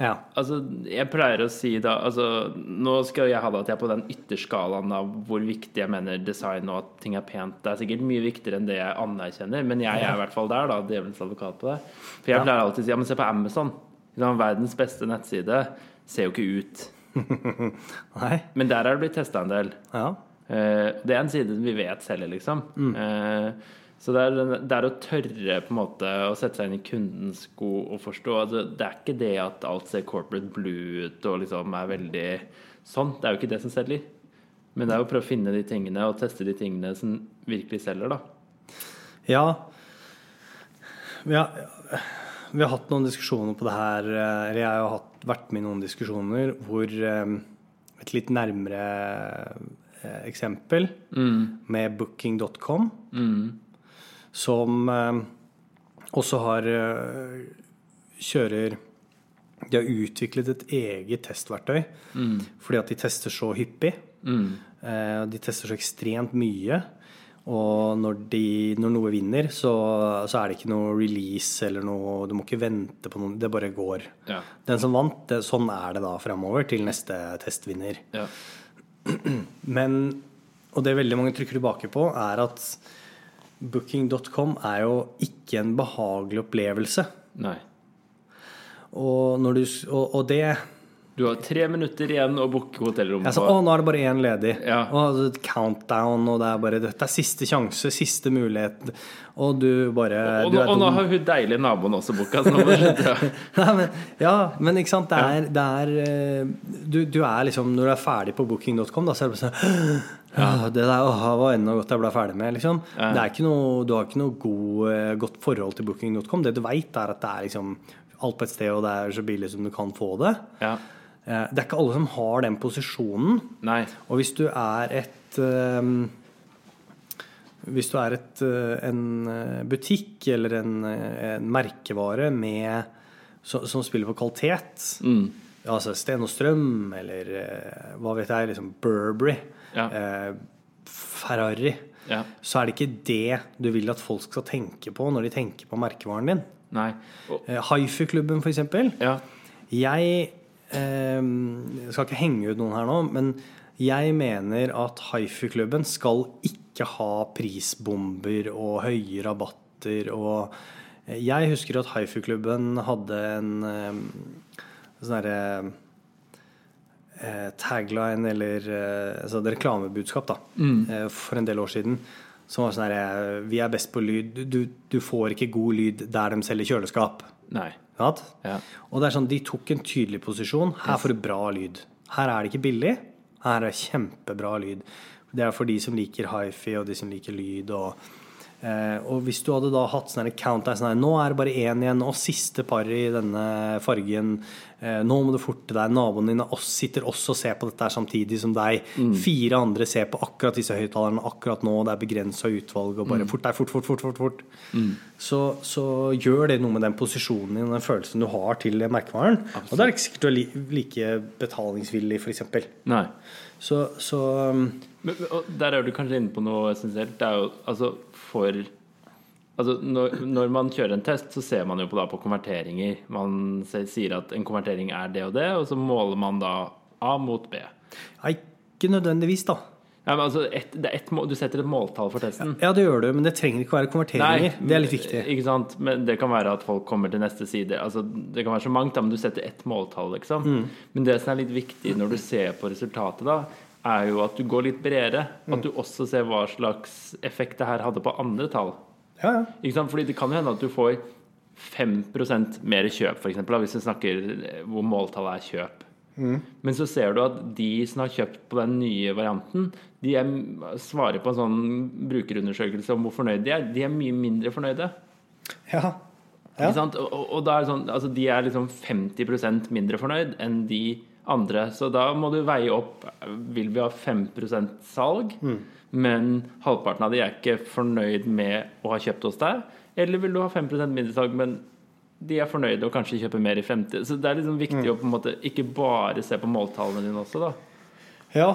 Speaker 2: Ja.
Speaker 1: Altså, jeg pleier å si da altså, Nå skal jeg ha det at jeg er på den ytterskalaen av hvor viktig jeg mener design og at ting er pent. Det er sikkert mye viktigere enn det jeg anerkjenner, men jeg er i hvert fall der, da. Djevelens advokat på det. For jeg pleier alltid å si ja, men se på Amazon. Ikke sant? Verdens beste nettside ser jo ikke ut
Speaker 2: Nei.
Speaker 1: Men der har det blitt testa en del.
Speaker 2: Ja.
Speaker 1: Eh, Det er en side vi vet selger, liksom.
Speaker 2: Mm.
Speaker 1: Eh, Så det er, den- det er å tørre på en måte å sette seg inn i kundens sko og forstå. Altså, det er ikke det at alt ser corporate blue ut og liksom er veldig sånn. Det er jo ikke det som selger. Men det er jo å prøve å finne de tingene og teste de tingene som virkelig selger, da.
Speaker 2: ja. Vi har, vi har hatt noen diskusjoner på det her. eh, Eller jeg har hatt, vært med i noen diskusjoner hvor eh, et litt nærmere eh, eksempel med booking.com, som eh, også har eh, kjører De har utviklet et eget testverktøy fordi at de tester så hyppig. Eh, De tester så ekstremt mye. Og når, de, når noe vinner, så, så er det ikke noe release eller noe Du må ikke vente på noe, det bare går.
Speaker 1: Ja.
Speaker 2: Den som vant, det, sånn er det da framover til neste testvinner.
Speaker 1: Ja.
Speaker 2: Men, og det veldig mange trykker tilbake på, er at booking.com er jo ikke en behagelig opplevelse.
Speaker 1: Nei.
Speaker 2: Og, når du, s- og, og det
Speaker 1: Du har tre minutter igjen å booke hotellrom
Speaker 2: Jeg sa
Speaker 1: på.
Speaker 2: å, nå er det bare én ledig.
Speaker 1: Ja.
Speaker 2: Og det er et countdown, og det er bare dette er siste sjanse, siste mulighet. Og du bare
Speaker 1: Og,
Speaker 2: du
Speaker 1: nå-
Speaker 2: er
Speaker 1: og nå
Speaker 2: dum.
Speaker 1: har hun deilige naboen også booka, så nå må du slutte.
Speaker 2: Nei, men, ja, men ikke sant, det er, det er eh, du, du er liksom Når du er ferdig på booking.com, da, så er det bare sånn «Åh, Det der åh, det var enda godt jeg ble ferdig med, liksom. Det er ikke noe, du har ikke noe god, eh, godt forhold til booking.com. Det du veit, er at det er liksom alt på et sted, og det er så billig som du kan få det.
Speaker 1: Ja.
Speaker 2: Eh, Det er ikke alle som har den posisjonen.
Speaker 1: Nei.
Speaker 2: Og hvis du er et ehm, Hvis du er et, eh, en eh, butikk eller en, eh, en merkevare med, som, som spiller på kvalitet,
Speaker 1: Mm.
Speaker 2: altså Sten og Strøm eller eh, hva vet jeg, liksom Burberry,
Speaker 1: Ja.
Speaker 2: eh, Ferrari,
Speaker 1: Ja.
Speaker 2: så er det ikke det du vil at folk skal tenke på når de tenker på merkevaren din.
Speaker 1: Nei. Og,
Speaker 2: Eh, Hifi-klubben, for eksempel.
Speaker 1: ja.
Speaker 2: Jeg eh, skal ikke henge ut noen her nå, men jeg mener at Haifu-klubben skal ikke ha prisbomber og høye rabatter og eh, Jeg husker at Haifu-klubben hadde en eh, sånn herre eh, tagline eller eh, altså et reklamebudskap da, eh, for en del år siden. Som var sånn herre Vi er best på lyd. Du, du får ikke god lyd der de selger kjøleskap.
Speaker 1: Nei.
Speaker 2: Sant?
Speaker 1: Ja.
Speaker 2: Og det er sånn, De tok en tydelig posisjon. Her får du bra lyd. Her er det ikke billig. Her er det kjempebra lyd. Det er for de som liker hifi, og de som liker lyd. Og, eh, og hvis du hadde da hatt sånn her countdown sånn her, Nå er det bare én igjen, og siste par i denne fargen. Eh, nå må du forte deg. Naboen din og oss sitter også og ser på dette her samtidig som deg. Fire andre ser på akkurat disse høyttalerne akkurat nå. Det er begrensa utvalg, og bare fort deg, fort, fort, fort. fort, fort. Så, så gjør det noe med den posisjonen din og den følelsen du har til merkevaren. Og da er det ikke sikkert du er li- like betalingsvillig, f.eks.
Speaker 1: Nei.
Speaker 2: Så, så um,
Speaker 1: Men, men- og der er du kanskje inne på noe essensielt. Det er jo altså for Altså når, når man kjører en test, så ser man jo på, da, på konverteringer. Man se- sier at en konvertering er det og det, og så måler man da A mot B. Nei,
Speaker 2: Nei, ikke nødvendigvis, da.
Speaker 1: men altså et, det er et, mål- du setter et måltall for testen.
Speaker 2: Ja, det gjør du, men det trenger ikke være konverteringer. det er litt viktig.
Speaker 1: Ikke sant? Men det kan være at folk kommer til neste side. Altså, det kan være så mangt, da, men du setter ett måltall, liksom.
Speaker 2: Mm.
Speaker 1: Men det som er litt viktig når du ser på resultatet, da, er jo at du går litt bredere.
Speaker 2: Mm.
Speaker 1: At du også ser hva slags effekt det her hadde på andre tall.
Speaker 2: Ja, ja.
Speaker 1: Ikke sant? Fordi det kan jo hende at du får 5 mer kjøp, f.eks., hvis du snakker eh, hvor måltallet er kjøp. Men så ser du at de som har kjøpt på den nye varianten, de er, svarer på en sånn brukerundersøkelse om hvor fornøyd de er. De er mye mindre fornøyde.
Speaker 2: ja.
Speaker 1: Ikke sant? Og, og, og da er det sånn, altså, de er liksom 50 mindre fornøyd enn de andre. Så da må du veie opp Vil vi ha 5 salg, men halvparten av de er ikke fornøyd med å ha kjøpt hos deg? Eller vil du ha 5 mindre salg, men de er fornøyde og kanskje kjøper mer i fremtiden? Så det er liksom viktig å på en måte ikke bare se på måltallene dine også, da.
Speaker 2: Ja,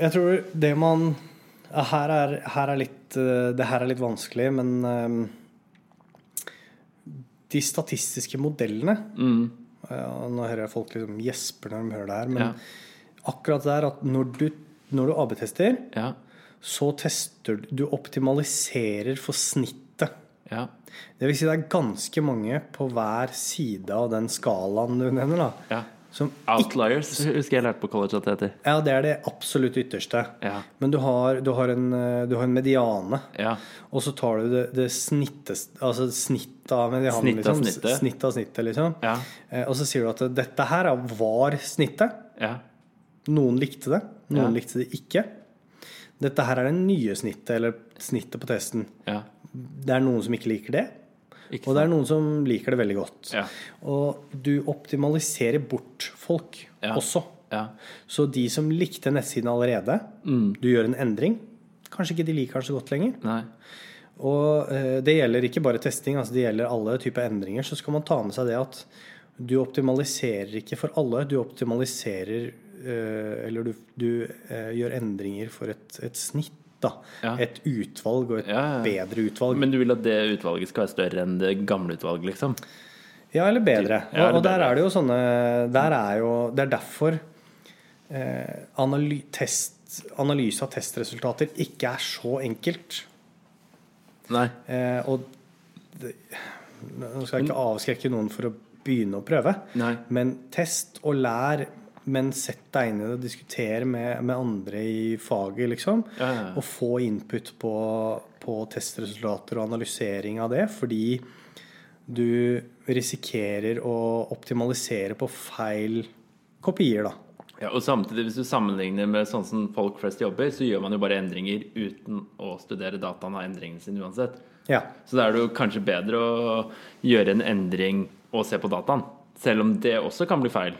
Speaker 2: jeg tror det man ja, her er, her er litt, eh, Det her er litt vanskelig, men eh, De statistiske modellene
Speaker 1: Mm.
Speaker 2: ja, Nå hører jeg folk liksom gjesper når de hører det her, men
Speaker 1: Ja.
Speaker 2: akkurat der at når du, når du AB-tester,
Speaker 1: Ja.
Speaker 2: så tester du Du optimaliserer for snittet.
Speaker 1: Ja.
Speaker 2: Det vil si det er ganske mange på hver side av den skalaen du nevner. da
Speaker 1: Ja.
Speaker 2: Som
Speaker 1: Outliers husker jeg lærte på college at det heter.
Speaker 2: Ja, det er det absolutt ytterste.
Speaker 1: Ja.
Speaker 2: Men du har, du har, en, eh, du har en mediane.
Speaker 1: Ja.
Speaker 2: Og så tar du det, det snittet Altså snitt av medianen,
Speaker 1: Snitt av
Speaker 2: liksom.
Speaker 1: snittet.
Speaker 2: Snitt av snittet, liksom.
Speaker 1: Ja.
Speaker 2: Eh, Og så sier du at dette her er- var snittet.
Speaker 1: ja.
Speaker 2: Noen likte det, noen
Speaker 1: Ja.
Speaker 2: likte det ikke. Dette her er det nye snittet, eller snittet på testen.
Speaker 1: ja.
Speaker 2: Det er noen som ikke liker det,
Speaker 1: Ikke
Speaker 2: og det er noen som liker det veldig godt.
Speaker 1: Ja.
Speaker 2: Og du optimaliserer bort folk
Speaker 1: Ja.
Speaker 2: også.
Speaker 1: Ja.
Speaker 2: Så de som likte nettsiden allerede,
Speaker 1: Mm.
Speaker 2: du gjør en endring. Kanskje ikke de liker den så godt lenger.
Speaker 1: Nei.
Speaker 2: Og eh, det gjelder ikke bare testing, altså det gjelder alle typer endringer. Så skal man ta med seg det at du optimaliserer ikke for alle, du optimaliserer eh, Eller du, du eh, gjør endringer for et, et snitt, da.
Speaker 1: Ja.
Speaker 2: Et utvalg, og et
Speaker 1: Ja, ja, ja.
Speaker 2: bedre utvalg.
Speaker 1: Men du vil at det utvalget skal være større enn det gamle utvalget, liksom?
Speaker 2: ja, eller bedre.
Speaker 1: Ja, eller
Speaker 2: og, og der
Speaker 1: bedre.
Speaker 2: er det jo sånne Der er jo Det er derfor eh, analy, test, analyse av testresultater ikke er så enkelt.
Speaker 1: Nei.
Speaker 2: Eh, og det, nå skal jeg ikke avskrekke noen for å begynne å prøve,
Speaker 1: Mm. Nei.
Speaker 2: men test og lær. Men sett deg inn i det og diskuter med, med andre i faget, liksom.
Speaker 1: Ja, ja, ja.
Speaker 2: Og få input på, på testresultater og analysering av det. Fordi du risikerer å optimalisere på feil kopier, da.
Speaker 1: Ja, og samtidig, hvis du sammenligner med sånn som folk flest jobber, så gjør man jo bare endringer uten å studere dataen av endringene sine uansett.
Speaker 2: Ja.
Speaker 1: Så da er det jo kanskje bedre å gjøre en endring og se på dataen. Selv om det også kan bli feil,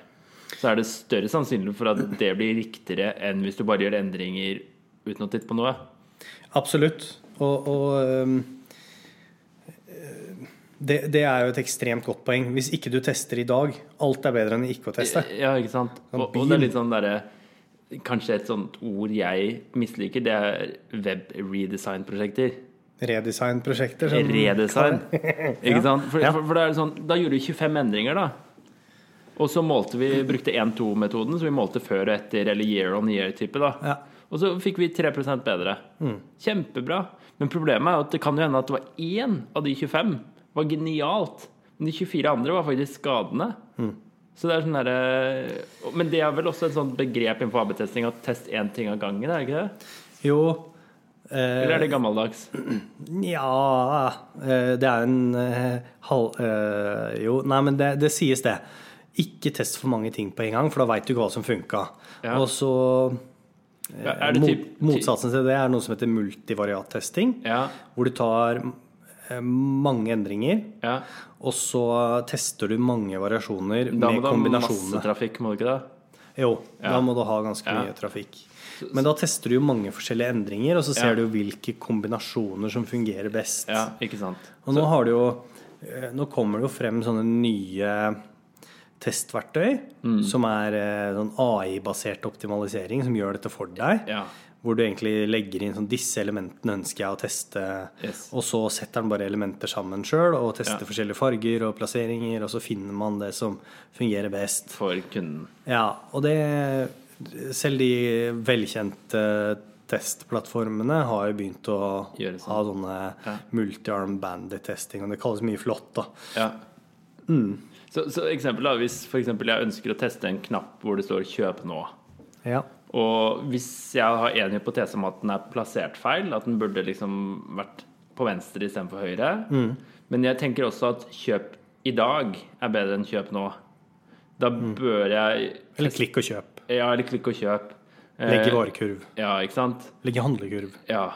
Speaker 1: så er det større sannsynlig for at det blir riktigere enn hvis du bare gjør endringer uten å titte på noe.
Speaker 2: Absolutt. Og, og øhm, øh, det, det er jo et ekstremt godt poeng. Hvis ikke du tester i dag, alt er bedre enn ikke å teste.
Speaker 1: Ja, ikke sant? Og, og det er litt sånn derre Kanskje et sånt ord jeg misliker, det er web redesign-prosjekter.
Speaker 2: Redesign-prosjekter. som-
Speaker 1: Redesign. Ikke sant? For, for, for det er sånn, da gjorde vi 25 endringer, da. Og så målte vi, brukte 1-2-metoden, så vi målte før og etter, eller year on year-type. da.
Speaker 2: Ja.
Speaker 1: Og så fikk vi 3 bedre. Kjempebra. Men problemet er jo at det kan jo hende at det var én av de 25 var genialt. Men de 24 andre var faktisk skadende. Så det er sånn derre Men det er vel også et sånt begrep innenfor AB-testing at test én ting av gangen, er det ikke det?
Speaker 2: Jo eh,
Speaker 1: Eller er det gammeldags?
Speaker 2: Nja eh, Det er en eh, halv eh, Jo, nei, men det, det sies det. Ikke test for mange ting på en gang, for da veit du ikke hva som funka.
Speaker 1: Ja.
Speaker 2: Og så øh,
Speaker 1: Ja, er det
Speaker 2: mot,
Speaker 1: typ-
Speaker 2: Motsatsen til det er noe som heter multivariat-testing.
Speaker 1: Ja.
Speaker 2: Hvor du tar eh, mange endringer,
Speaker 1: ja.
Speaker 2: og så tester du mange variasjoner
Speaker 1: Da må
Speaker 2: med
Speaker 1: du ha masse
Speaker 2: kombinasjonene.
Speaker 1: trafikk, må du ikke det?
Speaker 2: Jo, da må du ha ganske
Speaker 1: Ja.
Speaker 2: mye trafikk. Men da tester du jo mange forskjellige endringer, og så ser
Speaker 1: Ja.
Speaker 2: du hvilke kombinasjoner som fungerer best.
Speaker 1: Ja, ikke sant.
Speaker 2: Og nå har du jo eh, Nå kommer det jo frem sånne nye testverktøy
Speaker 1: Mm.
Speaker 2: som er eh, sånn AI-basert optimalisering som gjør dette for deg.
Speaker 1: Ja.
Speaker 2: Hvor du egentlig legger inn sånn disse elementene ønsker jeg å teste,
Speaker 1: Yes.
Speaker 2: og så setter den bare elementer sammen sjøl og tester
Speaker 1: Ja.
Speaker 2: forskjellige farger og plasseringer, og så finner man det som fungerer best.
Speaker 1: For kunden.
Speaker 2: Ja, og det Selv de velkjente testplattformene har jo begynt å
Speaker 1: Gjøre sånn.
Speaker 2: ha sånne multi-arm bandit-testing, og det kalles mye flott, da.
Speaker 1: Ja. Så, så eksempel, da, hvis for eksempel jeg ønsker å teste en knapp hvor det står 'kjøp nå',
Speaker 2: Ja.
Speaker 1: og hvis jeg har en hypotese om at den er plassert feil, at den burde liksom vært på venstre istedenfor høyre, men jeg tenker også at 'kjøp i dag' er bedre enn 'kjøp nå', da bør jeg
Speaker 2: Eller klikk og kjøp.
Speaker 1: Ja, eller klikk og kjøp. Eh,
Speaker 2: Legg i varekurv.
Speaker 1: Ja, ikke sant?
Speaker 2: Legg i handlekurv.
Speaker 1: Ja.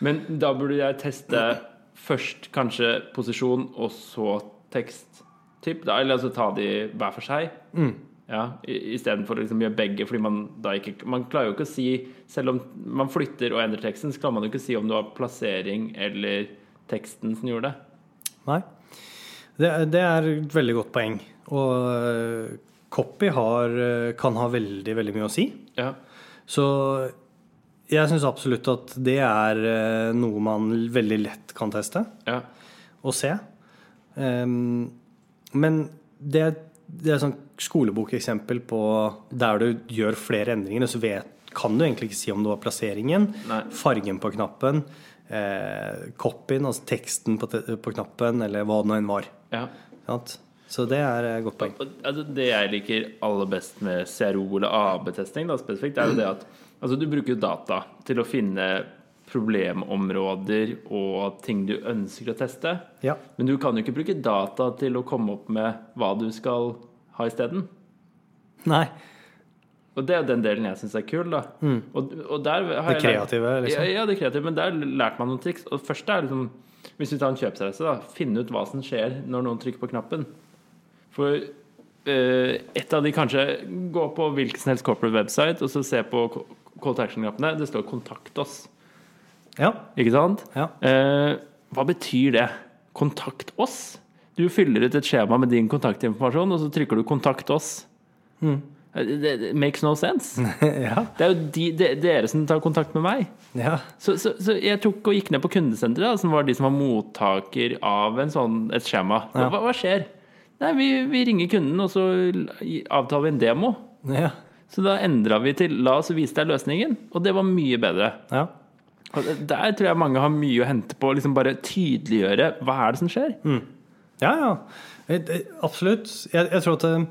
Speaker 1: Men da burde jeg teste først kanskje posisjon og så teksttyp. da, Eller altså ta de hver for seg. Ja, i- Istedenfor å liksom gjøre begge, fordi man da ikke Man klarer jo ikke å si Selv om man flytter og endrer teksten, så klarer man jo ikke å si om det var plassering eller teksten som gjorde det.
Speaker 2: Nei. Det, det er et veldig godt poeng. Og øh, copy har, øh, kan ha veldig, veldig mye å si.
Speaker 1: Ja.
Speaker 2: Så jeg syns absolutt at det er øh, noe man veldig lett kan teste.
Speaker 1: Ja.
Speaker 2: å se. Ehm, men det, det er et sånt skolebokeksempel på der du gjør flere endringer, og så vet, kan du egentlig ikke si om det var plasseringen,
Speaker 1: Nei.
Speaker 2: fargen på knappen, eh, copyen, altså teksten på, te på knappen, eller hva det nå enn var.
Speaker 1: ja.
Speaker 2: Sant? Så det er et godt poeng.
Speaker 1: Altså, det jeg liker aller best med CRO eller AB-testing, da, spesifikt, er jo det at altså, du bruker jo data til å finne problemområder og ting du ønsker å teste.
Speaker 2: Ja.
Speaker 1: Men du kan jo ikke bruke data til å komme opp med hva du skal ha isteden.
Speaker 2: Nei.
Speaker 1: Og det er jo den delen jeg syns er kul. da og, og der har
Speaker 2: Mm. Det
Speaker 1: jeg lært-
Speaker 2: kreative, liksom.
Speaker 1: Ja, ja, det kreative, men der lærte man noen triks. Og det første er liksom Hvis vi tar en kjøpsreise, da. Finne ut hva som skjer når noen trykker på knappen. For eh, et av de kanskje Gå på hvilken som helst corporate website og så se på co- call to action-knappene. Det står 'kontakt oss'.
Speaker 2: Ja.
Speaker 1: Ikke sant?
Speaker 2: Ja.
Speaker 1: Eh, hva betyr det? Kontakt oss? Du fyller ut et skjema med din kontaktinformasjon, og så trykker du 'kontakt oss'.
Speaker 2: Mm.
Speaker 1: Eh, Det, det makes no sense.
Speaker 2: ja.
Speaker 1: Det er jo de, de, dere som tar kontakt med meg.
Speaker 2: ja.
Speaker 1: Så, så, så jeg tok og gikk ned på kundesenteret, da, som var de som var mottaker av en sånn, et skjema. Hva,
Speaker 2: Ja.
Speaker 1: hva- hva skjer? Nei, vi, vi ringer kunden, og så l- avtaler vi en demo.
Speaker 2: ja.
Speaker 1: Så da endra vi til 'la oss vise deg løsningen', og det var mye bedre.
Speaker 2: ja.
Speaker 1: Og Der tror jeg mange har mye å hente på å liksom bare tydeliggjøre hva er det som skjer.
Speaker 2: Mm. Ja, ja. Eh, eh, Absolutt. Jeg, jeg tror at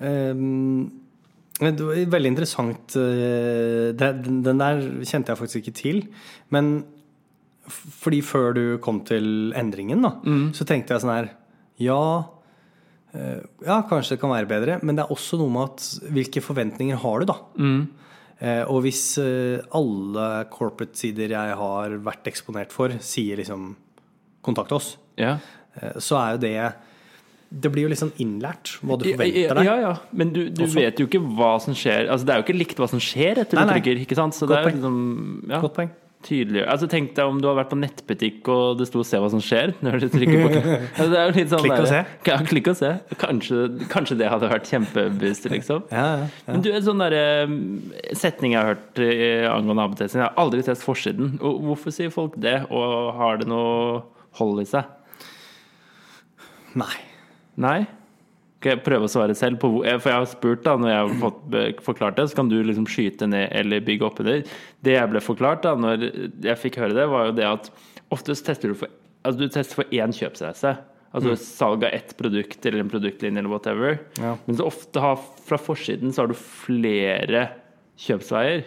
Speaker 2: eh, eh, det var Veldig interessant eh, det, Den den der kjente jeg faktisk ikke til. Men f- fordi før du kom til endringen, da, så tenkte jeg sånn her Ja, eh, ja, kanskje det kan være bedre, men det er også noe med at hvilke forventninger har du, da? Eh, og hvis eh, alle corporate-sider jeg har vært eksponert for, sier liksom 'kontakt oss',
Speaker 1: Ja.
Speaker 2: Eh, så er jo det Det blir jo litt sånn innlært hva du
Speaker 1: Ja,
Speaker 2: forventer deg.
Speaker 1: ja, Men du, du
Speaker 2: Også-
Speaker 1: vet jo ikke hva som skjer. Altså, det er jo ikke likt hva som skjer etter
Speaker 2: Nei,
Speaker 1: du
Speaker 2: nei.
Speaker 1: trykker. Ikke sant? Så
Speaker 2: Godt
Speaker 1: det er jo liksom ja,
Speaker 2: Godt poeng.
Speaker 1: tydelig. Altså, tenk deg om du har vært på nettbutikk og det sto 'se hva som skjer' når du trykker på knappen. altså, det er jo litt sånn
Speaker 2: Klikk og
Speaker 1: der- Ja, klikk og se. Kanskje, kanskje det hadde vært kjempeboost, liksom.
Speaker 2: Ja, ja, ja.
Speaker 1: Men du, en sånn der, eh, setning jeg har hørt eh, angående AB-testing Jeg har aldri test forsiden. Og hvorfor sier folk det, og har det noe hold i seg?
Speaker 2: Nei.
Speaker 1: Nei? Skal jeg prøve å svare selv? På hvor, eh, for jeg har spurt, da, når jeg har fått be- forklart det, så kan du liksom skyte ned eller bygge opp under. Det jeg ble forklart da når jeg fikk høre det, var jo det at oftest tester du for Altså du tester for én kjøpsreise. Altså salg av ett produkt eller en produktlinje eller whatever.
Speaker 2: Ja.
Speaker 1: Men så ofte har, fra forsiden så har du flere kjøpsveier.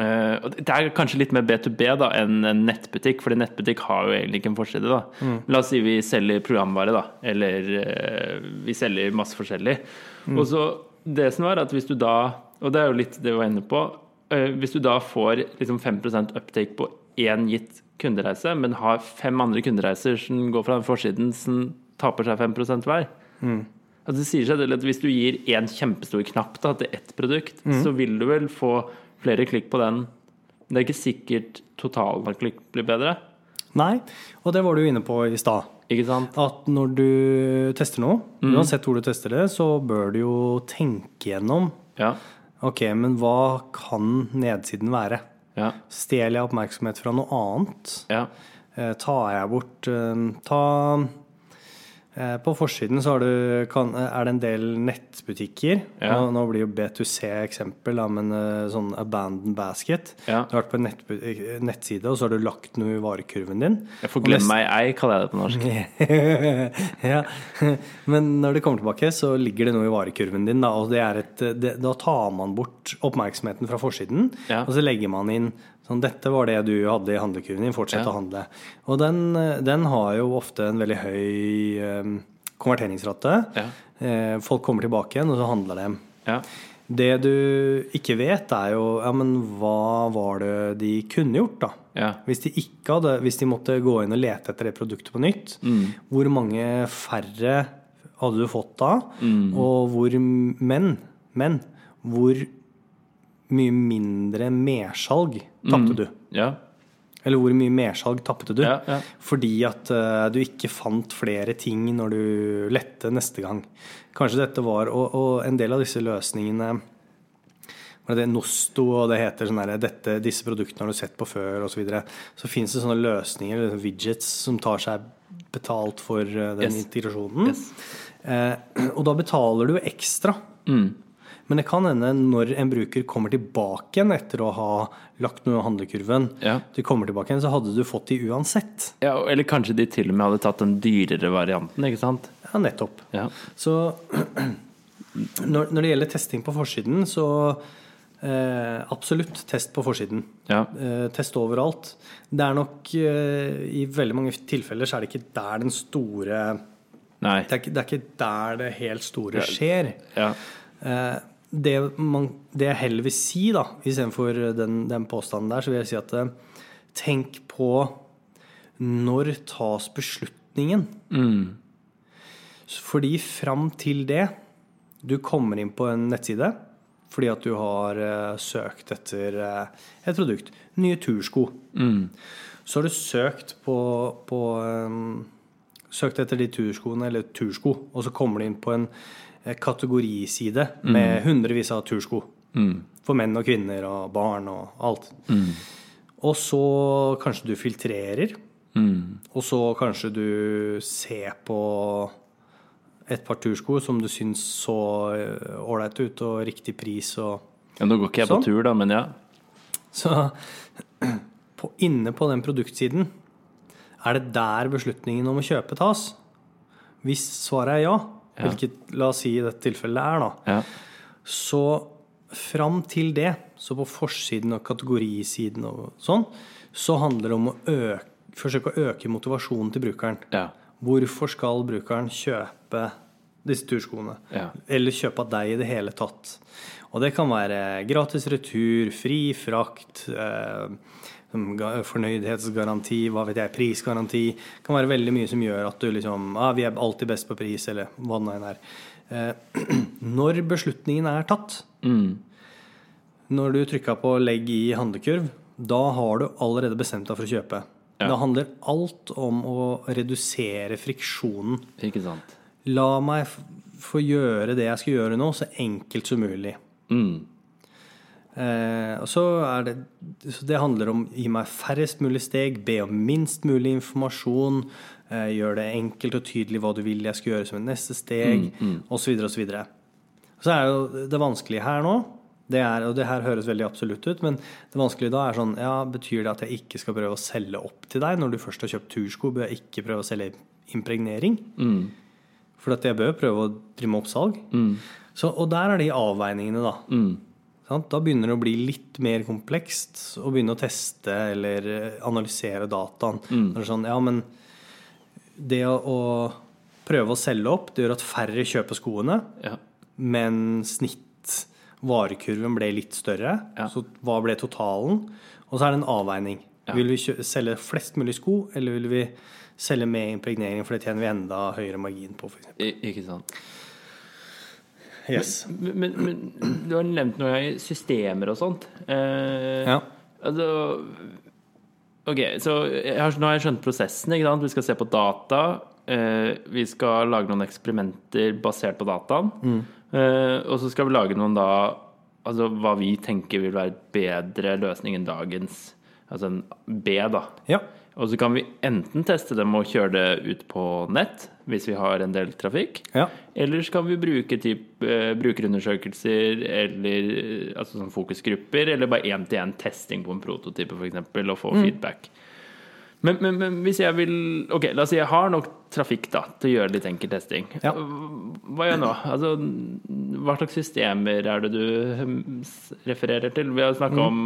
Speaker 1: Eh, og det er kanskje litt mer B2B da enn en nettbutikk, Fordi nettbutikk har jo egentlig ikke en forside. da La oss si vi selger programvare, da. Eller eh, vi selger masse forskjellig. Og så det som er at hvis du da Og det er jo litt det vi var inne på. eh, hvis du da får liksom 5 uptake på én gitt kundereise, men har fem andre kundereiser som går fra den forsiden som taper seg 5 hver Altså, det sier seg selv at Hvis du gir én kjempestor knapp da, til ett produkt, så vil du vel få flere klikk på den. Men det er ikke sikkert totalen av klikk blir bedre.
Speaker 2: Nei. Og det var du jo inne på i stad.
Speaker 1: Ikke sant?
Speaker 2: At når du tester noe,
Speaker 1: Mm.
Speaker 2: uansett hvor du tester det, så bør du jo tenke gjennom
Speaker 1: Ja.
Speaker 2: Ok, men hva kan nedsiden være?
Speaker 1: Ja.
Speaker 2: Stjeler jeg oppmerksomhet fra noe annet?
Speaker 1: Ja.
Speaker 2: Eh, tar jeg bort eh, Ta eh, På forsiden så har du, kan, eh, er det en del nettbutikker.
Speaker 1: Ja.
Speaker 2: Nå, nå blir jo B2C eksempel, da, men eh, sånn abandoned basket.
Speaker 1: Ja.
Speaker 2: Du har vært på en nettbu- eh, nettside, og så har du lagt noe i varekurven din.
Speaker 1: Jeg får glemme meg ei, kaller jeg det på norsk.
Speaker 2: ja. Men når det kommer tilbake, så ligger det noe i varekurven din. Da, og det er et, det, da tar man bort oppmerksomheten fra forsiden,
Speaker 1: Ja.
Speaker 2: og så legger man inn sånn Dette var det du hadde i handlekurven din, fortsett
Speaker 1: Ja.
Speaker 2: å handle. Og den, den har jo ofte en veldig høy eh, konverteringsrate.
Speaker 1: Ja.
Speaker 2: Eh, folk kommer tilbake igjen, og så handler de.
Speaker 1: Ja.
Speaker 2: Det du ikke vet, er jo ja, men hva var det de kunne gjort, da?
Speaker 1: Ja.
Speaker 2: Hvis de ikke hadde, hvis de måtte gå inn og lete etter det produktet på nytt, hvor mange færre hadde du fått da? Og hvor Men, men hvor mye mindre mersalg tapte du?
Speaker 1: Ja.
Speaker 2: Eller hvor mye mersalg tapte du?
Speaker 1: Ja, ja.
Speaker 2: Fordi at eh, du ikke fant flere ting når du lette neste gang. Kanskje dette var Og, og en del av disse løsningene var det Nosto, og det heter sånn herre dette- Disse produktene har du sett på før, osv. Så, videre. så fins det sånne løsninger, eller sånne widgets, som tar seg betalt for eh, den
Speaker 1: Yes.
Speaker 2: integrasjonen.
Speaker 1: Yes. Mm.
Speaker 2: Eh, og da betaler du ekstra. Men det kan hende når en bruker kommer tilbake igjen etter å ha lagt noe i handlekurven,
Speaker 1: Ja.
Speaker 2: du kommer tilbake igjen, så hadde du fått de uansett.
Speaker 1: Ja, eller kanskje de til og med hadde tatt den dyrere varianten, ikke sant?
Speaker 2: Ja, nettopp.
Speaker 1: Ja.
Speaker 2: Så når, når det gjelder testing på forsiden, så eh, absolutt test på forsiden.
Speaker 1: Ja.
Speaker 2: Eh, test overalt. Det er nok eh, I veldig mange tilfeller så er det ikke der den store
Speaker 1: Nei.
Speaker 2: Det er ikke, det er ikke der det helt store skjer.
Speaker 1: Ja.
Speaker 2: Eh, det, man, det jeg heller vil si, da, istedenfor den, den påstanden der, så vil jeg si at eh, tenk på når tas beslutningen? Fordi fram til det du kommer inn på en nettside fordi at du har eh, søkt etter eh, et produkt. Nye tursko. Så har du søkt på, på eh, Søkt etter de turskoene, eller tursko, og så kommer du inn på en eh, kategoriside med hundrevis av tursko. For menn og kvinner og barn og alt. Og så kanskje du filtrerer. Og så kanskje du ser på et par tursko som du syns så eh, ålreit ut, og riktig pris og
Speaker 1: ja. Nå går ikke jeg
Speaker 2: Sånn.
Speaker 1: på tur, da, men ja.
Speaker 2: Så på, inne på den produktsiden, er det der beslutningen om å kjøpe tas? Hvis svaret er ja, hvilket la oss si i dette tilfellet det er, da,
Speaker 1: Ja.
Speaker 2: så fram til det, så på forsiden og kategorisiden og sånn, så handler det om å øke, forsøke å øke motivasjonen til brukeren.
Speaker 1: Ja.
Speaker 2: Hvorfor skal brukeren kjøpe disse turskoene?
Speaker 1: Ja.
Speaker 2: Eller kjøpe av deg i det hele tatt? Og det kan være gratis retur, fri frakt, eh, som ga- fornøydhetsgaranti, hva vet jeg, prisgaranti. Det kan være veldig mye som gjør at du liksom ah, Vi er alltid best på pris, eller hva det nå enn er. Eh, når beslutningen er tatt,
Speaker 1: Sånn. Mm.
Speaker 2: når du trykka på 'legg i handlekurv', da har du allerede bestemt deg for å kjøpe.
Speaker 1: Ja.
Speaker 2: Da handler alt om å redusere friksjonen.
Speaker 1: Ikke sant.
Speaker 2: La meg f- få gjøre det jeg skal gjøre nå, så enkelt som mulig.
Speaker 1: Mm.
Speaker 2: Eh, og så er det så Det handler om gi meg færrest mulig steg, be om minst mulig informasjon, eh, gjør det enkelt og tydelig hva du vil jeg skal gjøre som et neste steg, osv., osv. Så er jo det vanskelige her nå det er, Og det her høres veldig absolutt ut, men det vanskelige da er sånn Ja, betyr det at jeg ikke skal prøve å selge opp til deg når du først har kjøpt tursko? Bør jeg ikke prøve å selge impregnering? For at jeg bør prøve å trimme opp salg.
Speaker 1: Mm.
Speaker 2: Så, og der er de avveiningene, da. Sant? Da begynner det å bli litt mer komplekst å begynne å teste eller eh, analysere dataen.
Speaker 1: Mm.
Speaker 2: Det er sånn, ja, men det å, å prøve å selge opp, det gjør at færre kjøper skoene,
Speaker 1: Ja.
Speaker 2: men snitt varekurven ble litt større.
Speaker 1: Ja.
Speaker 2: Så hva ble totalen? Og så er det en avveining.
Speaker 1: Ja.
Speaker 2: Vil vi kjø selge flest mulig sko, eller vil vi selge med impregnering, for det tjener vi enda høyere margin på, f.eks.
Speaker 1: I, ikke sant.
Speaker 2: Yes.
Speaker 1: Men, men, men du har nevnt noe i systemer og sånt. Eh,
Speaker 2: Ja.
Speaker 1: Altså Ok, så jeg har, nå har jeg skjønt prosessen. ikke sant? Vi skal se på data. Eh, vi skal lage noen eksperimenter basert på dataen. Eh, og så skal vi lage noen da Altså hva vi tenker vil være bedre løsning enn dagens. Altså en B, da.
Speaker 2: ja.
Speaker 1: Og så kan vi enten teste dem og kjøre det ut på nett hvis vi har en del trafikk.
Speaker 2: Ja.
Speaker 1: Eller så kan vi bruke typ, eh, brukerundersøkelser eller eh, altså sånn fokusgrupper, eller bare én-til-én-testing på en prototype f.eks., og få feedback. Men, men, men hvis jeg vil Ok, la oss si jeg har nok trafikk da, til å gjøre litt enkel testing.
Speaker 2: Ja.
Speaker 1: Hva gjør jeg nå? Altså, hva slags systemer er det du hm, s- refererer til? Vi har snakka om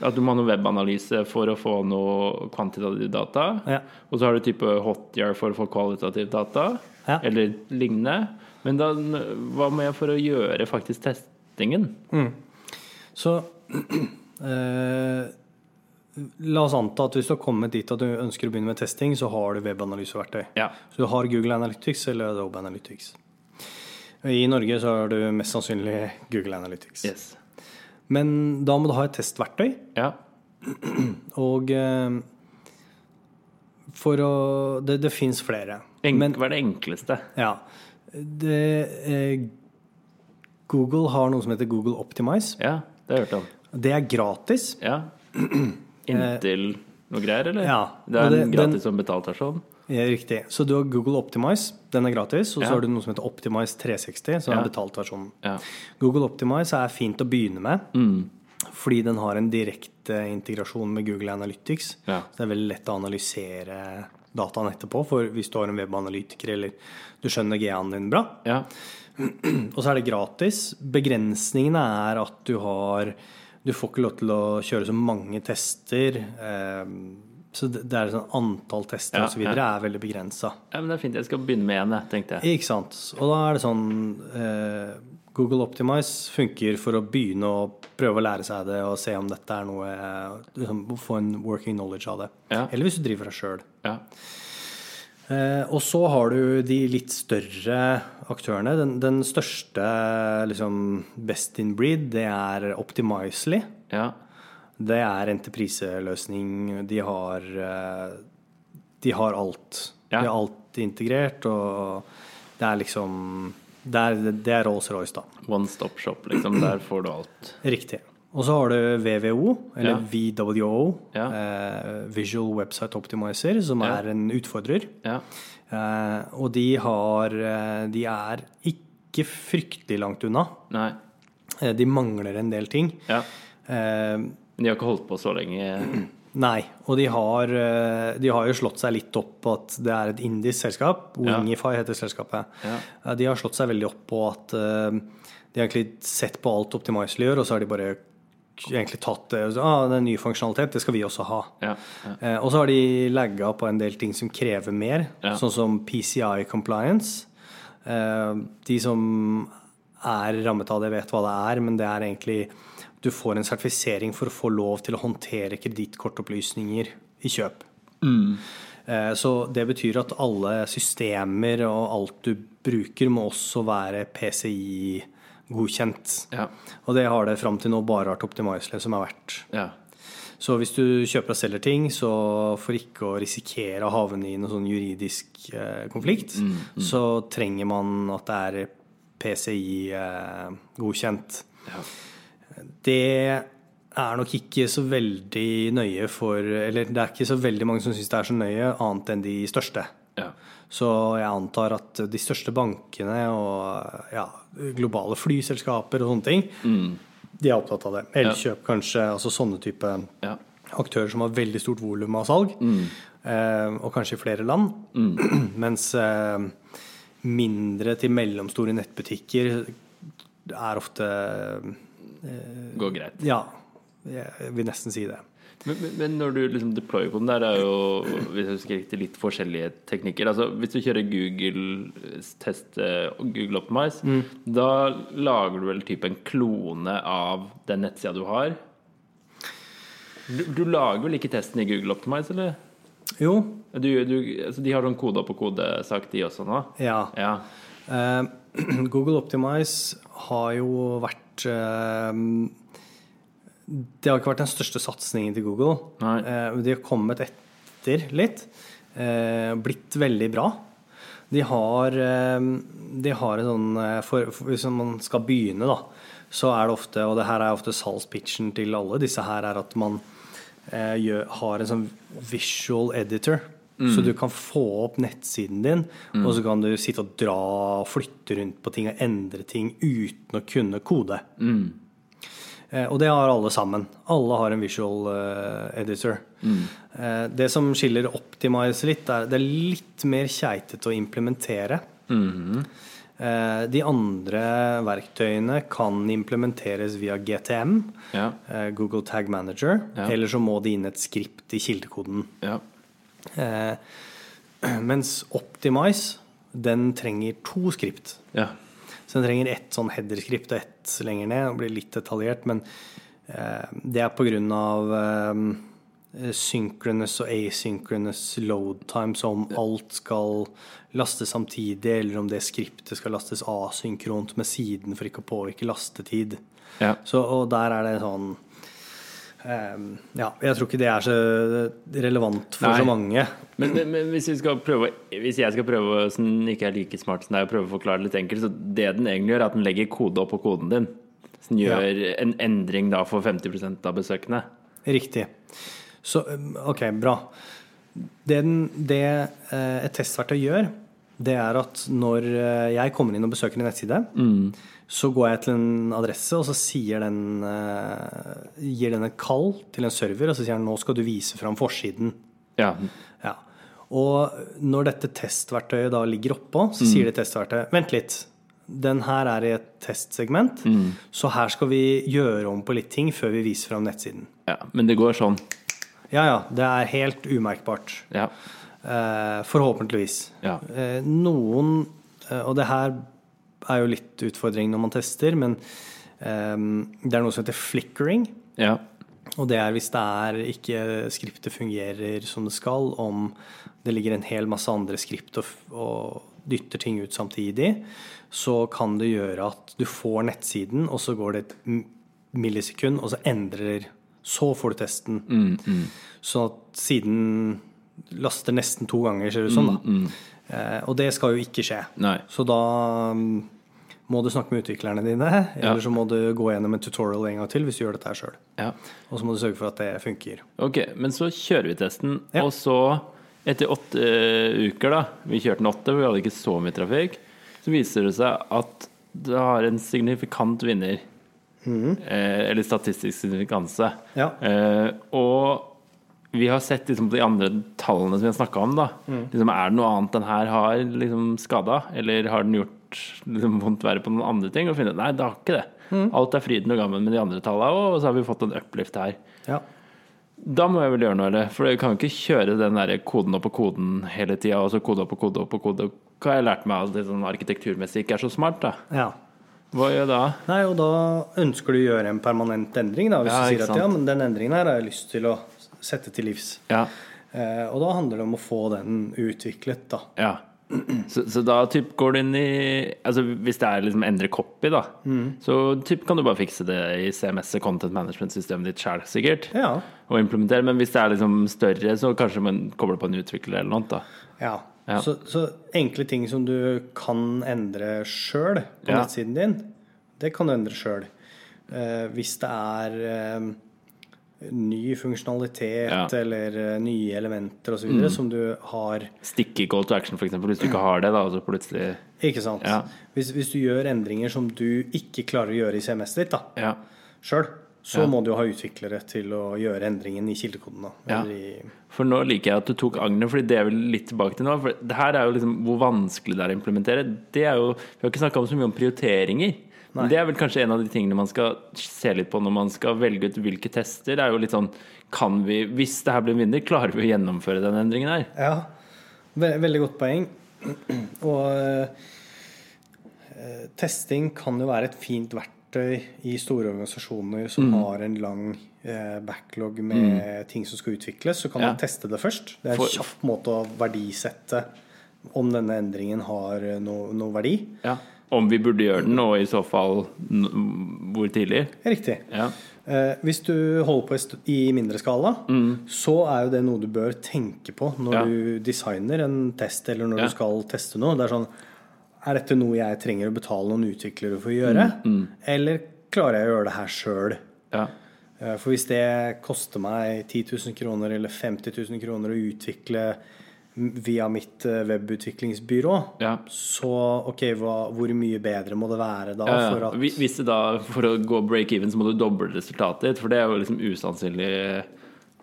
Speaker 1: at du må ha noe webanalyse for å få noe kvantitativ data.
Speaker 2: Ja.
Speaker 1: Og så har du type hotjar for å få kvalitativ data,
Speaker 2: Ja.
Speaker 1: eller lignende. Men da, hva må jeg for å gjøre faktisk testingen?
Speaker 2: Så eh, la oss anta at hvis du har kommet dit at du ønsker å begynne med testing, så har du webanalyseverktøy.
Speaker 1: Ja.
Speaker 2: Så du har Google Analytics eller Adobe Analytics. I Norge så har du mest sannsynlig Google Analytics.
Speaker 1: Yes.
Speaker 2: Men da må du ha et testverktøy.
Speaker 1: Ja.
Speaker 2: Og eh, for å Det, det fins flere.
Speaker 1: Enk, hva er det enkleste?
Speaker 2: Ja. Det, eh, Google har noe som heter Google Optimize.
Speaker 1: Ja, det har jeg hørt om.
Speaker 2: Det er gratis.
Speaker 1: Ja. Inntil noe greier, eller?
Speaker 2: ja.
Speaker 1: Det
Speaker 2: Og
Speaker 1: er
Speaker 2: det-
Speaker 1: en gratis som sånn. betalt versjon?
Speaker 2: Ja, Riktig. Så du har Google Optimize, den er gratis. Og så
Speaker 1: Ja.
Speaker 2: har du noe som heter Optimize 360, som
Speaker 1: Ja.
Speaker 2: er betalt versjonen.
Speaker 1: Ja.
Speaker 2: Google Optimize er fint å begynne med,
Speaker 1: Mm.
Speaker 2: fordi den har en direkte integrasjon med Google Analytics.
Speaker 1: Ja.
Speaker 2: Så det er veldig lett å analysere dataen etterpå, for hvis du har en webanalytiker eller du skjønner GA-en din bra.
Speaker 1: Ja.
Speaker 2: Og så er det gratis. Begrensningene er at du har Du får ikke lov til å kjøre så mange tester. Eh, så det det er sånn antall tester
Speaker 1: Ja,
Speaker 2: og osv. videre er veldig begrensa.
Speaker 1: ja, men det er fint. Jeg skal begynne med én, jeg, tenkte jeg.
Speaker 2: Ikke sant. Og da er det sånn eh, Google Optimize funker for å begynne å prøve å lære seg det og se om dette er noe eh, liksom, Få en working knowledge av det.
Speaker 1: Ja.
Speaker 2: Eller hvis du driver deg sjøl.
Speaker 1: Ja.
Speaker 2: Eh, og så har du de litt større aktørene. Den, den største, liksom best in breed, det er Optimizely.
Speaker 1: Ja.
Speaker 2: Det er entrepriseløsning. De har eh, De har alt.
Speaker 1: Ja.
Speaker 2: De har alt integrert, og det er liksom Det er, det er Rolls-Royce, da.
Speaker 1: One stop shop, liksom. Der får du alt.
Speaker 2: Riktig. Og så har du VVO, eller VWO,
Speaker 1: Ja.
Speaker 2: eh, Visual Website Optimizer, som
Speaker 1: Ja.
Speaker 2: er en utfordrer.
Speaker 1: Ja.
Speaker 2: Eh, og de har eh, De er ikke fryktelig langt unna.
Speaker 1: Nei.
Speaker 2: Eh, de mangler en del ting.
Speaker 1: Ja.
Speaker 2: Eh,
Speaker 1: Men de har ikke holdt på så lenge.
Speaker 2: nei. Og de har, eh, de har jo slått seg litt opp på at det er et indisk selskap.
Speaker 1: Ja.
Speaker 2: Wingify heter selskapet.
Speaker 1: Ja.
Speaker 2: Eh, de har slått seg veldig opp på at eh, de har egentlig sett på alt Optimizely gjør, og så har de bare egentlig tatt det og så, ah, det er ny funksjonalitet, det skal vi også ha.
Speaker 1: Ja. Ja.
Speaker 2: Eh, Og så har de lagga på en del ting som krever mer,
Speaker 1: Ja.
Speaker 2: sånn som PCI compliance. Eh, De som er rammet av det, vet hva det er, men det er egentlig Du får en sertifisering for å få lov til å håndtere kredittkortopplysninger i kjøp.
Speaker 1: Mm.
Speaker 2: Eh, Så det betyr at alle systemer og alt du bruker, må også være PCI-godkjent.
Speaker 1: Ja.
Speaker 2: Og det har det fram til nå bare vært Optimizely som har vært.
Speaker 1: ja.
Speaker 2: Så hvis du kjøper og selger ting, så for ikke å risikere å havne i noen sånn juridisk eh, konflikt, så trenger man at det er PCI-godkjent.
Speaker 1: Ja.
Speaker 2: eh, Det er nok ikke så veldig nøye for Eller det er ikke så veldig mange som syns det er så nøye, annet enn de største.
Speaker 1: ja.
Speaker 2: Så jeg antar at de største bankene og eh, ja, globale flyselskaper og sånne ting, de er opptatt av det. Elkjøp kanskje, altså sånne type
Speaker 1: ja.
Speaker 2: aktører som har veldig stort volum av salg, eh, og kanskje i flere land. Mens eh, mindre til mellomstore nettbutikker er ofte
Speaker 1: Går greit.
Speaker 2: Ja, jeg vil nesten si det.
Speaker 1: Men, men- men når du liksom deployer på den der, det er jo hvis jeg husker riktig, litt forskjellige teknikker. Altså, hvis du kjører Google-test og Google Optimize, da lager du vel type en klone av den nettsida du har? Du, du lager vel ikke testen i Google Optimize, eller?
Speaker 2: Jo,
Speaker 1: Du, du, altså, de har sånn kode opp og kode-sak, de også nå?
Speaker 2: ja.
Speaker 1: Ja.
Speaker 2: Eh, Google Optimize har jo vært eh, Det har ikke vært den største satsingen til Google.
Speaker 1: Nei.
Speaker 2: Eh, de har kommet etter litt. Eh, blitt veldig bra. De har, eh, de har en sånn eh, for, for, Hvis man skal begynne, da, så er det ofte Og det her er ofte salgspitchen til alle disse her, er at man eh, gjør, har en sånn visual editor. Så du kan få opp nettsiden din, og så kan du sitte og dra og flytte rundt på ting og endre ting uten å kunne kode. Eh, Og det har alle sammen. Alle har en visual eh, editor. Eh, det som skiller Optimize litt, er det er litt mer keitete å implementere. Eh, de andre verktøyene kan implementeres via GTM,
Speaker 1: Ja.
Speaker 2: eh, Google Tag Manager,
Speaker 1: Ja.
Speaker 2: eller så må det inn et skript i kildekoden.
Speaker 1: Ja.
Speaker 2: Eh, mens Optimize, den trenger to skript.
Speaker 1: ja.
Speaker 2: Så den trenger ett sånn header-skript og ett lenger ned. Det blir litt detaljert, men eh, det er pga. Eh, synchronous og asynchronous load time, så om alt skal lastes samtidig, eller om det skriptet skal lastes asynkront med siden for ikke å påvirke lastetid.
Speaker 1: ja.
Speaker 2: Så, og der er det sånn eh, Ja, jeg tror ikke det er så relevant for
Speaker 1: Nei.
Speaker 2: så mange.
Speaker 1: Men, men, men hvis, vi skal prøve, hvis jeg skal prøve, som ikke er like smart som deg, å prøve å forklare det litt enkelt, så det den egentlig gjør, er at den legger kode opp på koden din. Så den gjør en endring da for 50 av besøkende.
Speaker 2: Riktig. Så, um, ok, bra. det, den- det eh, et testverktøy gjør, det er at når eh, jeg kommer inn og besøker en nettside, så går jeg til en adresse, og så sier den, eh, gir den et kall til en server, og så sier den nå skal du vise fram forsiden.
Speaker 1: Ja.
Speaker 2: Ja. Og når dette testverktøyet da ligger oppå, så sier det testverktøyet Vent litt. Den her er i et testsegment, så her skal vi gjøre om på litt ting før vi viser fram nettsiden.
Speaker 1: ja. Men det går sånn.
Speaker 2: Ja ja, det er helt umerkbart.
Speaker 1: Ja.
Speaker 2: Eh, forhåpentligvis.
Speaker 1: Ja.
Speaker 2: Eh, noen eh, Og det her er jo litt utfordring når man tester, men eh, det er noe som heter flickering.
Speaker 1: Ja.
Speaker 2: Og det er hvis det er ikke skriptet fungerer som det skal, om det ligger en hel masse andre skript og, f- og dytter ting ut samtidig, så kan det gjøre at du får nettsiden, og så går det et m- millisekund, og så endrer Så får du testen. Sånn at siden laster nesten to ganger, ser det ut som. da. Eh, og det skal jo ikke skje.
Speaker 1: Nei.
Speaker 2: Så da mm, må du snakke med utviklerne dine, eller så må du gå gjennom en tutorial en gang til hvis du gjør dette her sjøl.
Speaker 1: ja.
Speaker 2: Og så må du sørge for at det funker.
Speaker 1: Ok, men så kjører vi testen,
Speaker 2: Ja.
Speaker 1: og så etter åtte eh, uker da, vi kjørte den åtte, for vi hadde ikke så mye trafikk, så viser det seg at det har en signifikant vinner, eh, eller statistisk signifikanse.
Speaker 2: Ja.
Speaker 1: Eh, og vi har sett liksom, på de andre tallene som vi har snakket om da, liksom, er det noe annet den her har liksom, skadet, eller har den gjort liksom, vondt verre på noen andre ting, og finner ut, nei, det har ikke det. Alt er fryden og gammen med de andre tallene, og så har vi fått en uplift her.
Speaker 2: Ja.
Speaker 1: Da må jeg vel gjøre noe, eller? For jeg kan jo ikke kjøre den der koden opp og koden hele tida, og så kode opp og kode opp og kode. Hva har jeg lært meg at det sånn arkitekturmessig ikke er så smart, da?
Speaker 2: ja.
Speaker 1: Hva gjør jeg da?
Speaker 2: Nei, og da ønsker du å gjøre en permanent endring, da, hvis
Speaker 1: Ja,
Speaker 2: du
Speaker 1: ikke
Speaker 2: sier at
Speaker 1: sant.
Speaker 2: ja, men den endringen her har jeg lyst til å sette til livs.
Speaker 1: Ja.
Speaker 2: Eh, og da handler det om å få den utviklet, da.
Speaker 1: ja. Så, så da typ går du inn i Altså hvis det er liksom endre copy, da, så typ kan du bare fikse det i CMS-et, content management-systemet ditt sjøl, sikkert,
Speaker 2: Ja.
Speaker 1: og implementere. Men hvis det er liksom større, så kanskje man kobler på en utvikler eller noe annet, da.
Speaker 2: ja.
Speaker 1: Ja.
Speaker 2: Så, så enkle ting som du kan endre sjøl på
Speaker 1: Ja.
Speaker 2: nettsiden din, det kan du endre sjøl. Eh, hvis det er eh, ny funksjonalitet
Speaker 1: Ja. Mm.
Speaker 2: eller eh, nye elementer osv. videre som du har
Speaker 1: Stikke call to action, for eksempel, hvis du ikke har det, da, og så plutselig
Speaker 2: Ikke sant?
Speaker 1: Ja.
Speaker 2: Hvis, hvis du gjør endringer som du ikke klarer å gjøre i CMS-et ditt da,
Speaker 1: Ja.
Speaker 2: sjøl, så
Speaker 1: Ja.
Speaker 2: må du jo ha utviklere til å gjøre endringen i kildekoden. da.
Speaker 1: Ja.
Speaker 2: Eller i,
Speaker 1: For nå liker jeg at du tok agner, fordi det er vel litt tilbake til nå. For det her er jo liksom hvor vanskelig det er å implementere. Det er jo, Vi har ikke snakka så mye om prioriteringer. Men det er vel kanskje en av de tingene man skal se litt på når man skal velge ut hvilke tester. Det er jo litt sånn kan vi, Hvis det her blir en vinner, klarer vi å gjennomføre den endringen her?
Speaker 2: ja. Ve veldig godt poeng. Og eh, testing kan jo være et fint verktøy i store organisasjoner som
Speaker 1: Mm.
Speaker 2: har en lang eh, backlog med ting som skal utvikles. Så kan
Speaker 1: Ja.
Speaker 2: man teste det først. Det er en
Speaker 1: For-
Speaker 2: kjapp måte å verdisette om denne endringen har eh, noe noe verdi.
Speaker 1: Ja. Om vi burde gjøre den, og i så fall n- hvor tidlig?
Speaker 2: Riktig.
Speaker 1: Ja.
Speaker 2: Eh, hvis du holder på i st- i mindre skala, så er jo det noe du bør tenke på
Speaker 1: Mm.
Speaker 2: når
Speaker 1: Ja.
Speaker 2: du designer en test, eller når
Speaker 1: Ja.
Speaker 2: du skal teste noe. Det er sånn Er dette noe jeg trenger å betale noen utviklere for å gjøre?
Speaker 1: Mm.
Speaker 2: Eller klarer jeg å gjøre det her sjøl?
Speaker 1: ja.
Speaker 2: Eh, For hvis det koster meg 10 000 kroner eller 50 000 kroner å utvikle m- via mitt eh, webutviklingsbyrå,
Speaker 1: Ja.
Speaker 2: så ok, hva, hvor mye bedre må det være da?
Speaker 1: Ja,
Speaker 2: For
Speaker 1: ja.
Speaker 2: at,
Speaker 1: Hvis- Hvis det da, for å gå break-even, så må du doble resultatet ditt, for det er jo liksom usannsynlig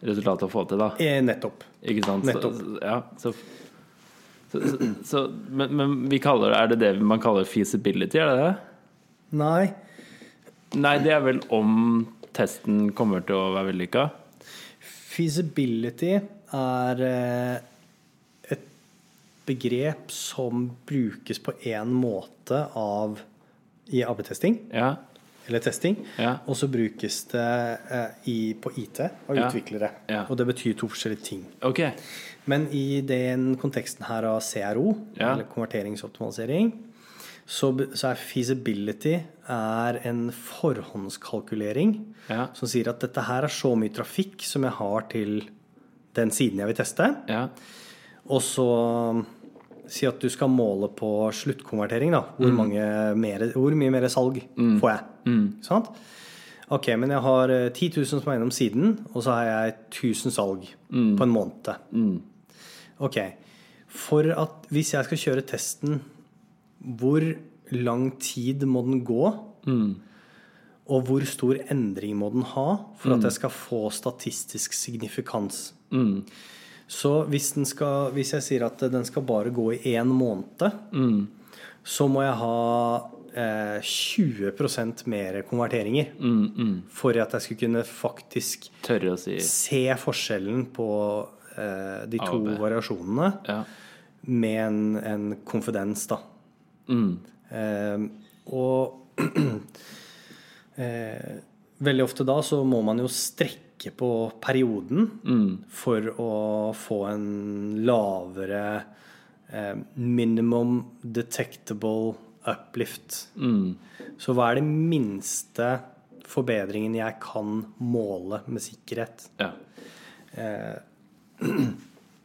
Speaker 1: resultat å få til, da.
Speaker 2: Eh, nettopp.
Speaker 1: Ikke sant? Så-
Speaker 2: Nettopp.
Speaker 1: Så, ja, så, så, så, så, men, men vi kaller det Er det det man kaller feasibility, er det det?
Speaker 2: Nei.
Speaker 1: Nei, det er vel om testen kommer til å være vellykka.
Speaker 2: Feasibility er eh, et begrep som brukes på én måte av, i AB-testing,
Speaker 1: Ja.
Speaker 2: eller testing,
Speaker 1: Ja.
Speaker 2: og så brukes det eh, i, på IT av
Speaker 1: Ja.
Speaker 2: utviklere.
Speaker 1: Ja.
Speaker 2: Og det betyr to forskjellige ting.
Speaker 1: Ok.
Speaker 2: Men i den konteksten her av CRO,
Speaker 1: Ja.
Speaker 2: eller konverteringsoptimalisering, så, be- så er feasibility er en forhåndskalkulering
Speaker 1: Ja.
Speaker 2: som sier at dette her er så mye trafikk som jeg har til den siden jeg vil teste.
Speaker 1: Ja.
Speaker 2: Og så um, si at du skal måle på sluttkonvertering, da. Hvor, mange mere, hvor mye mer salg får jeg? Ikke Sant? Ok, men jeg har eh, 10 000 som er gjennom siden, og så har jeg 1000 salg på en måned. Ok. For at hvis jeg skal kjøre testen, hvor lang tid må den gå? Og hvor stor endring må den ha for at jeg skal få statistisk signifikans? Så hvis, den skal, hvis jeg sier at den skal bare gå i én måned,
Speaker 1: Mm.
Speaker 2: så må jeg ha eh, 20 mer konverteringer
Speaker 1: Mm,
Speaker 2: for at jeg skulle kunne faktisk
Speaker 1: Tørre å si
Speaker 2: se forskjellen på eh, de
Speaker 1: A
Speaker 2: to
Speaker 1: og B.
Speaker 2: variasjonene
Speaker 1: Ja.
Speaker 2: med en, en konfidens, da. Eh, og eh, veldig ofte da så må man jo strekke på perioden for å få en lavere eh, minimum detectable uplift. Så hva er det minste forbedringen jeg kan måle med sikkerhet?
Speaker 1: ja. Eh.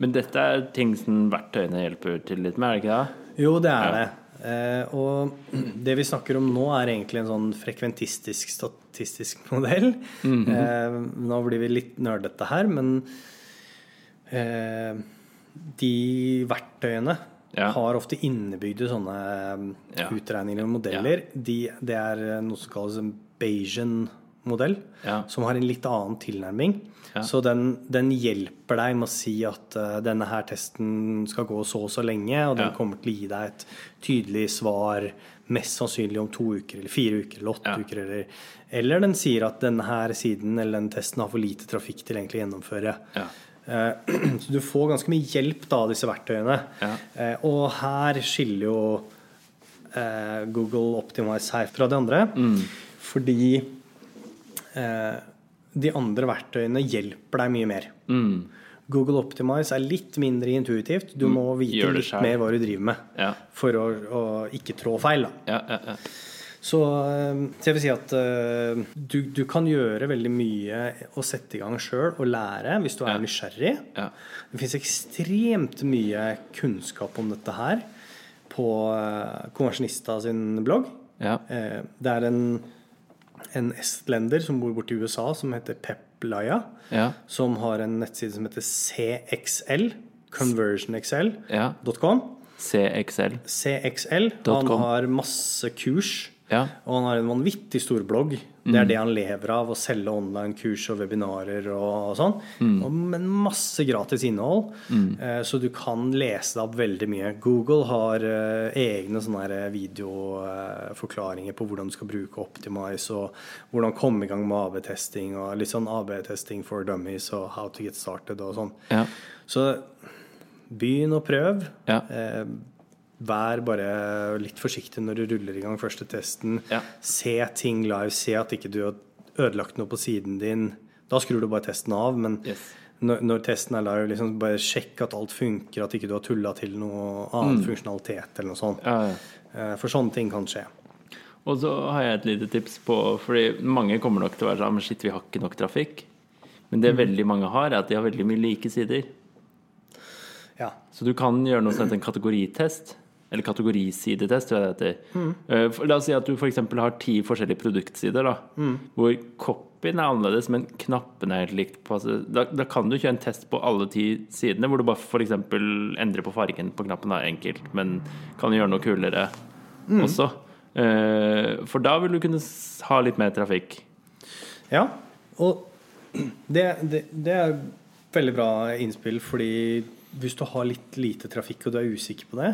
Speaker 1: Men dette er ting som verktøyene hjelper til litt med, er det ikke det?
Speaker 2: Jo, det er det. Eh, og det vi snakker om nå, er egentlig en sånn frekventistisk statistisk modell.
Speaker 1: Mhm.
Speaker 2: eh, nå blir vi litt nerdete her, men eh, de verktøyene
Speaker 1: Ja.
Speaker 2: har ofte innebygde sånne eh,
Speaker 1: Ja.
Speaker 2: utregninger og modeller. De, det er noe som kalles en Bayesian-modell,
Speaker 1: Ja.
Speaker 2: som har en litt annen tilnærming.
Speaker 1: Ja.
Speaker 2: Så den, den hjelper deg med å si at eh, denne her testen skal gå så og så lenge, og den
Speaker 1: Ja.
Speaker 2: kommer til å gi deg et tydelig svar mest sannsynlig om to uker eller fire uker eller åtte
Speaker 1: Ja.
Speaker 2: uker. Eller, eller den sier at denne her siden eller den testen har for lite trafikk til egentlig å gjennomføre.
Speaker 1: Ja.
Speaker 2: Eh, Så du får ganske mye hjelp da, av disse verktøyene.
Speaker 1: Ja.
Speaker 2: Eh, Og her skiller jo eh, Google Optimize her fra de andre.
Speaker 1: Mm.
Speaker 2: Fordi eh, de andre verktøyene hjelper deg mye mer.
Speaker 1: Mm.
Speaker 2: Google Optimize er litt mindre intuitivt. Du må vite
Speaker 1: Gjør det
Speaker 2: litt
Speaker 1: selv.
Speaker 2: mer hva du driver med
Speaker 1: Ja.
Speaker 2: for å, å ikke trå feil. Da.
Speaker 1: Ja, ja, ja.
Speaker 2: Så, eh, så jeg vil si at eh, du, du kan gjøre veldig mye og sette i gang sjøl og lære hvis du er nysgjerrig.
Speaker 1: Ja.
Speaker 2: Det fins ekstremt mye kunnskap om dette her på eh, Konversjonista sin blogg.
Speaker 1: Ja.
Speaker 2: Eh, Det er en, en estlender som bor borti USA, som heter Peplaya,
Speaker 1: Ja.
Speaker 2: som har en nettside som heter CXL,
Speaker 1: Ja.
Speaker 2: conversionxl.com.
Speaker 1: CXL.
Speaker 2: CXL.
Speaker 1: Dot
Speaker 2: Han
Speaker 1: com.
Speaker 2: har masse kurs.
Speaker 1: Ja. Mm.
Speaker 2: Og han har en vanvittig stor blogg. Det er det han lever av, å selge online-kurs og webinarer og sånn.
Speaker 1: Mm.
Speaker 2: Og, men masse gratis innhold, eh, så du kan lese deg opp veldig mye. Google har eh, egne sånne videoforklaringer på hvordan du skal bruke Optimize, og hvordan komme i gang med AB-testing, og litt sånn AB-testing for dummies, og how to get started og sånn.
Speaker 1: Ja.
Speaker 2: Så begynn å prøve.
Speaker 1: Ja.
Speaker 2: Eh, Vær bare litt forsiktig når du ruller i gang første testen.
Speaker 1: Ja.
Speaker 2: Se ting live, se at ikke du har ødelagt noe på siden din. Da skrur du bare testen av, men
Speaker 1: Yes.
Speaker 2: når, når testen er live, liksom bare sjekk at alt funker, at ikke du har tulla til noe annen funksjonalitet eller noe sånt.
Speaker 1: Mm. Ja, ja.
Speaker 2: Eh, For sånne ting kan skje.
Speaker 1: Og så har jeg et lite tips på Fordi mange kommer nok til å være sånn Men shit, vi har ikke nok trafikk. Men det veldig mange har, er at de har veldig mye like sider.
Speaker 2: Ja.
Speaker 1: Så du kan gjøre noe som heter en kategoritest. Eller kategorisidetest, tror jeg det heter. Eh, for- La oss si at du f.eks. har ti forskjellige produktsider, da, hvor copyen er annerledes, men knappene er helt likt. På, altså, da, da kan du kjøre en test på alle ti sidene, hvor du bare f.eks. endrer på fargen på knappen, da, enkelt, men kan gjøre noe kulere også. Eh, For da vil du kunne s- ha litt mer trafikk.
Speaker 2: Ja, og det, det, det er veldig bra innspill, fordi hvis du har litt lite trafikk og du er usikker på det,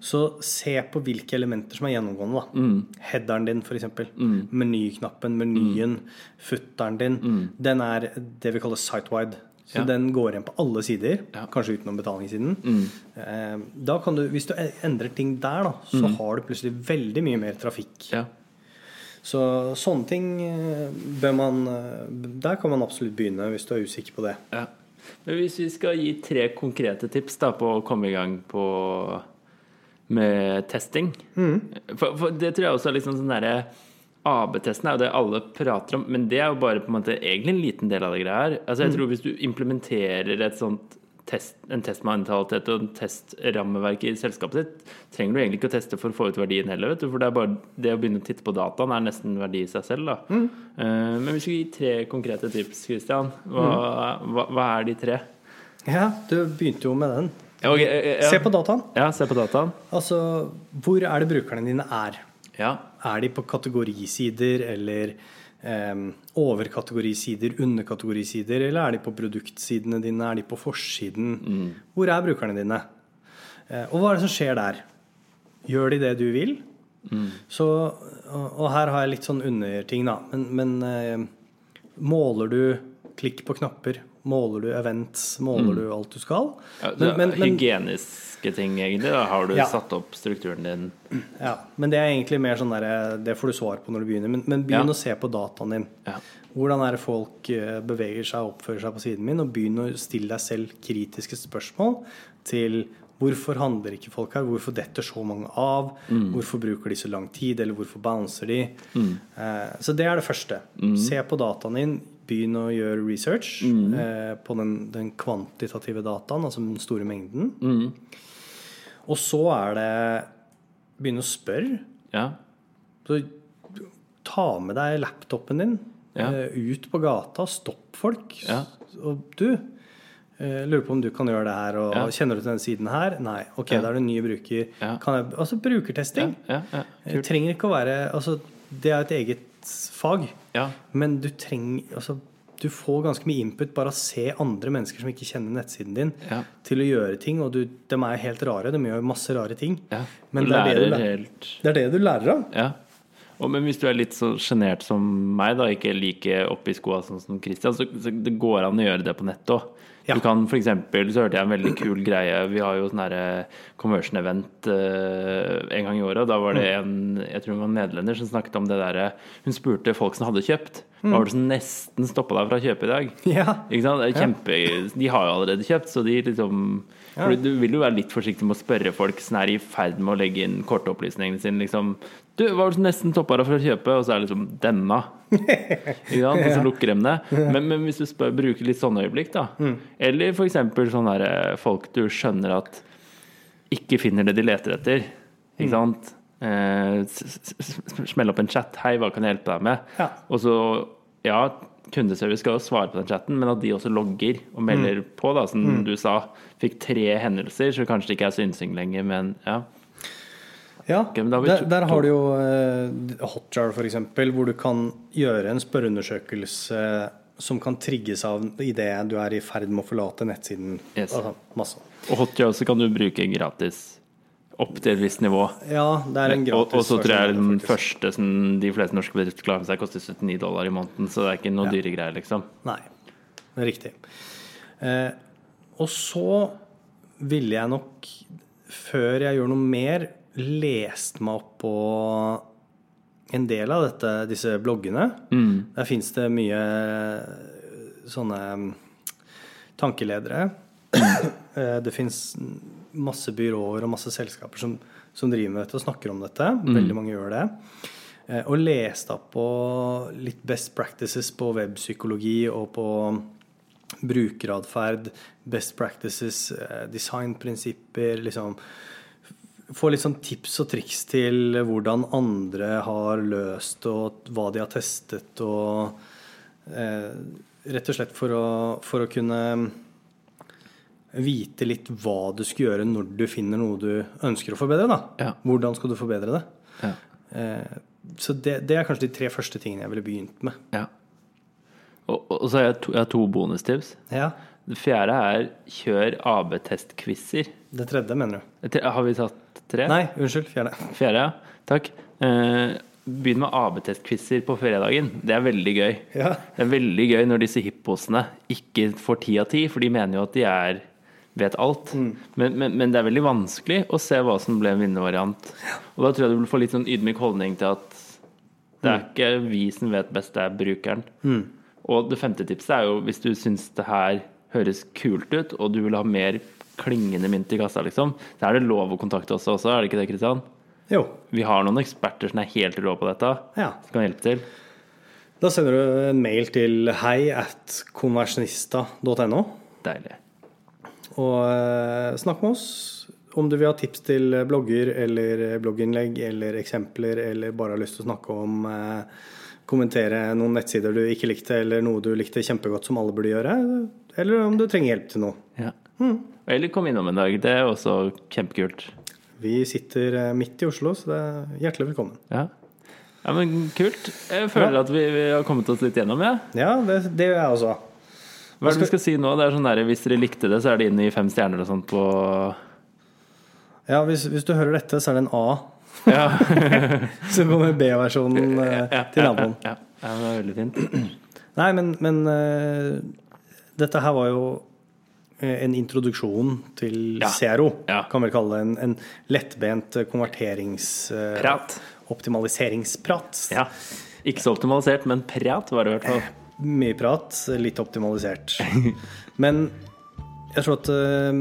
Speaker 2: så se på hvilke elementer som er gjennomgående. Da. Headeren din, f.eks. Mm. Menyknappen, menyen, footeren din. Den er det vi kaller site-wide. Så
Speaker 1: Ja.
Speaker 2: den går igjen på alle sider,
Speaker 1: Ja.
Speaker 2: kanskje utenom betalingssiden. Eh, Da kan du, hvis du e-, endrer ting der, da, så har du plutselig veldig mye mer trafikk.
Speaker 1: Ja.
Speaker 2: Så sånne ting eh, bør man eh, Der kan man absolutt begynne hvis du er usikker på det.
Speaker 1: Ja. Men hvis vi skal gi tre konkrete tips da, på å komme i gang på, med testing
Speaker 2: Mm.
Speaker 1: for, for det tror jeg også er liksom sånn derre AB-testen er jo det alle prater om, men det er jo bare på en måte egentlig en liten del av det greia her. Altså jeg
Speaker 2: Mm.
Speaker 1: tror hvis du implementerer et sånt test, en testmentalitet og en testrammeverk i selskapet ditt, trenger du egentlig ikke å teste for å få ut verdien heller, vet du. For det er bare det å begynne å titte på dataen er nesten verdi i seg selv, da.
Speaker 2: Mm.
Speaker 1: Eh, men vi skal gi tre konkrete
Speaker 2: Mm.
Speaker 1: tips, Christian. Hva, hva, hva er de tre?
Speaker 2: Ja, du begynte jo med den.
Speaker 1: Ok, eh, ja.
Speaker 2: Se på dataen.
Speaker 1: Ja, se på dataen.
Speaker 2: Altså, hvor er det brukerne dine er?
Speaker 1: Ja.
Speaker 2: Er de på kategorisider eller eh, overkategorisider, underkategorisider, eller er de på produktsidene dine, er de på forsiden?
Speaker 1: Mm.
Speaker 2: Hvor er brukerne dine? Eh, og hva er det som skjer der? Gjør de det du vil?
Speaker 1: Mm.
Speaker 2: Så, og, og her har jeg litt sånn underting, da. Men, men eh, måler du klikk på knapper? Måler du events? Måler du alt du skal?
Speaker 1: Mm. Ja, det
Speaker 2: Men-
Speaker 1: er
Speaker 2: men- men-
Speaker 1: hygieniske ting, egentlig. Da har du
Speaker 2: Ja.
Speaker 1: satt opp strukturen din.
Speaker 2: Ja, men det er egentlig mer sånn der, Det får du svar på når du begynner. Men, men begynn
Speaker 1: Ja.
Speaker 2: å se på dataen din.
Speaker 1: Ja.
Speaker 2: Hvordan er det folk eh, beveger seg og oppfører seg på siden min? Og begynn å stille deg selv kritiske spørsmål til hvorfor handler ikke folk her? Hvorfor detter så mange av? Hvorfor bruker de så lang tid? Eller hvorfor bouncer de? Eh, Så det er det første. Se på dataen din. Begynn å gjøre research eh, på den, den kvantitative dataen, altså den store mengden. Og så er det begynne å spørre.
Speaker 1: ja.
Speaker 2: Så ta med deg laptopen din
Speaker 1: Ja.
Speaker 2: eh, ut på gata, stopp folk. S-
Speaker 1: Ja.
Speaker 2: Og du eh, lurer på om du kan gjøre det her, og
Speaker 1: Ja.
Speaker 2: kjenner du til den siden her? Nei. Ok, da er du ny bruker.
Speaker 1: Ja.
Speaker 2: Kan jeg, altså
Speaker 1: Ja,
Speaker 2: brukertesting.
Speaker 1: ja, ja.
Speaker 2: Eh, Trenger ikke å være Altså, det er et eget fag,
Speaker 1: ja.
Speaker 2: men du trenger Altså, du får ganske mye input bare av å se andre mennesker som ikke kjenner nettsiden din,
Speaker 1: Ja.
Speaker 2: til å gjøre ting, og du, de er helt rare. De gjør masse rare ting.
Speaker 1: ja.
Speaker 2: Men
Speaker 1: Du
Speaker 2: det er det du
Speaker 1: lærer
Speaker 2: lærer.
Speaker 1: helt
Speaker 2: Det er det du lærer av.
Speaker 1: Ja. Og, men hvis du er litt så sjenert som meg, da, ikke like oppi skoa sånn som Christian, så, så det går an å gjøre det på nett òg.
Speaker 2: Ja.
Speaker 1: Du kan for eksempel, så hørte jeg en veldig kul greie. Vi har jo sånn herre conversion event eh, en gang i året. og Da var det
Speaker 2: Mm.
Speaker 1: en jeg tror hun var nederlender som snakket om det derre Hun spurte folk som hadde kjøpt.
Speaker 2: Mm.
Speaker 1: Hva var det som nesten stoppa deg fra å kjøpe i dag?
Speaker 2: Ja.
Speaker 1: Ikke sant? Det er Kjempe, De har jo allerede kjøpt, så de liksom for Du vil jo være litt forsiktig med å spørre folk som er i ferd med å legge inn kortopplysningene sine. Liksom, 'Du, hva var det som nesten toppa deg for å kjøpe?' Og så er det liksom 'denne'. Ikke sant? Og så lukker de det. Men, men hvis du spør, bruker litt sånne øyeblikk, da.
Speaker 2: Mm.
Speaker 1: Eller for eksempel sånne der, folk du skjønner at ikke finner det de leter etter.
Speaker 2: Mm.
Speaker 1: Ikke sant? Eh, s- s- s- Smell opp en chat. 'Hei, hva kan jeg hjelpe deg med?'
Speaker 2: Ja.
Speaker 1: Og så, ja, kundeservice skal jo svare på den chatten, men at de også logger og melder
Speaker 2: Mm.
Speaker 1: på, da, som du sa. Fikk tre hendelser, så kanskje det ikke er synsing lenger, men ja.
Speaker 2: Ja,
Speaker 1: men da har vi
Speaker 2: der,
Speaker 1: to-
Speaker 2: der har du jo eh, Hotjar f.eks., hvor du kan gjøre en spørreundersøkelse som kan trigges av idet du er i ferd med å forlate nettsiden.
Speaker 1: Yes.
Speaker 2: Altså, masse.
Speaker 1: Og Hotjar også kan du bruke gratis. Opp til et visst nivå.
Speaker 2: Ja, det er en
Speaker 1: Og,
Speaker 2: gratis
Speaker 1: og så tror jeg
Speaker 2: versjon av
Speaker 1: den
Speaker 2: det, faktisk.
Speaker 1: første som de fleste norske bedrifter klarer med seg, koster 79 dollar i måneden. Så det er ikke noe dyre greier, liksom.
Speaker 2: Nei, det er riktig. Eh, og så ville jeg nok, før jeg gjør noe mer, lest meg opp på en del av dette, disse bloggene.
Speaker 1: Mm.
Speaker 2: Der fins det mye eh, sånne tankeledere. Eh, det fins masse byråer og masse selskaper som, som driver med dette og snakker om dette. Veldig mange gjør det. Eh, Og leste opp på litt best practices på webpsykologi og på brukeratferd, best practices, eh, designprinsipper, liksom Få litt sånn tips og triks til hvordan andre har løst, og hva de har testet, og eh, Rett og slett for å, for å kunne eh, vite litt hva du skal gjøre når du finner noe du ønsker å forbedre. Da.
Speaker 1: Ja.
Speaker 2: Hvordan skal du forbedre det?
Speaker 1: Ja.
Speaker 2: Eh, Så det, det er kanskje de tre første tingene jeg ville begynt med.
Speaker 1: ja. Og, og og så har jeg to, jeg har to bonustips.
Speaker 2: Ja,
Speaker 1: Det fjerde er kjør AB-test-quizer.
Speaker 2: Det tredje, mener du?
Speaker 1: Har vi tatt tre?
Speaker 2: Nei, unnskyld. Fjerde.
Speaker 1: Fjerde, ja. Takk. Eh, Begynn med AB-test-quizer på fredagen. Det er veldig gøy.
Speaker 2: Ja.
Speaker 1: Det er veldig gøy når disse hipposene ikke får ti av ti, for de mener jo at de er vet alt. Men, men, men det er veldig vanskelig å se hva som ble en vinnervariant. Og da tror jeg du vil få litt sånn ydmyk holdning til at det er ikke vi som vet best, det er brukeren. Og det femte tipset er jo hvis du syns det her høres kult ut, og du vil ha mer klingende mynt i kassa, liksom, så er det lov å kontakte oss også, er det ikke det, Kristian?
Speaker 2: Jo.
Speaker 1: Vi har noen eksperter som er helt rå på dette,
Speaker 2: Ja.
Speaker 1: som kan hjelpe til.
Speaker 2: Da sender du en mail til hei at konversjonista.no,
Speaker 1: Deilig.
Speaker 2: og eh, snakk med oss om du vil ha tips til blogger eller blogginnlegg eller eksempler, eller bare har lyst til å snakke om eh, Kommentere noen nettsider du ikke likte, eller noe du likte kjempegodt som alle burde gjøre. Eller om du trenger hjelp til noe.
Speaker 1: Ja. Eller kom innom en dag. Det er også kjempekult.
Speaker 2: Vi sitter eh, midt i Oslo, så det er hjertelig velkommen.
Speaker 1: Ja. ja, men kult. Jeg føler at vi, vi har kommet oss litt gjennom, ja.
Speaker 2: Ja, det, det gjør jeg også.
Speaker 1: Hva er det vi skal si nå? Det er sånn der, Hvis dere likte det, så er det inn i fem stjerner og sånt på
Speaker 2: Ja, hvis, hvis du hører dette, så er det en A.
Speaker 1: Ja.
Speaker 2: Så kommer B-versjonen eh, til naboen.
Speaker 1: ja. ja men det er veldig fint.
Speaker 2: Nei, men, men eh, dette her var jo eh, en introduksjon til
Speaker 1: Ja.
Speaker 2: Zero.
Speaker 1: Ja.
Speaker 2: Kan vel kalle det en, en lettbent eh, konverterings... eh,
Speaker 1: Prat.
Speaker 2: Optimaliseringsprat.
Speaker 1: Ja. Ikke så optimalisert, men prat var det i hvert fall.
Speaker 2: Mye prat, litt optimalisert. Men jeg tror at eh,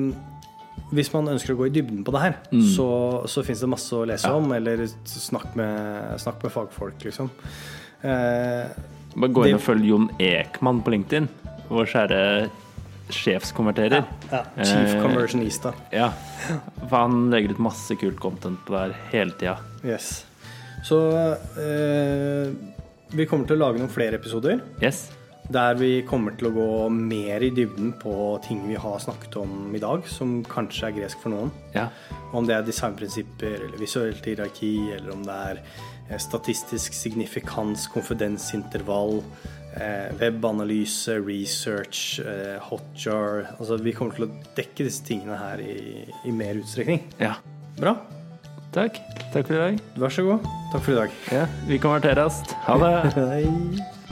Speaker 2: hvis man ønsker å gå i dybden på det her,
Speaker 1: Mm.
Speaker 2: så, så fins det masse å lese om, eller snakk med, snakk med fagfolk, liksom. Eh,
Speaker 1: Bare gå inn
Speaker 2: Det-
Speaker 1: og følg Jon Ekman på LinkedIn, vår kjære sjefskonverterer.
Speaker 2: ja, Chief
Speaker 1: Eh,
Speaker 2: Conversionista.
Speaker 1: Ja. For han legger ut masse kult content på der hele tida.
Speaker 2: Yes. Så eh, vi kommer til å lage noen flere episoder
Speaker 1: Yes.
Speaker 2: der vi kommer til å gå mer i dybden på ting vi har snakket om i dag, som kanskje er gresk for noen.
Speaker 1: Ja.
Speaker 2: Om det er designprinsipper eller visuelt hierarki, eller om det er eh, statistisk signifikans, konfidensintervall, eh, webanalyse, research, eh, hotjar Altså vi kommer til å dekke disse tingene her i, i mer utstrekning.
Speaker 1: ja.
Speaker 2: Bra.
Speaker 1: Takk. Takk for i dag.
Speaker 2: Vær så god. Takk for i dag.
Speaker 1: Ja. Vi konverteres. Ha det.
Speaker 2: Hei.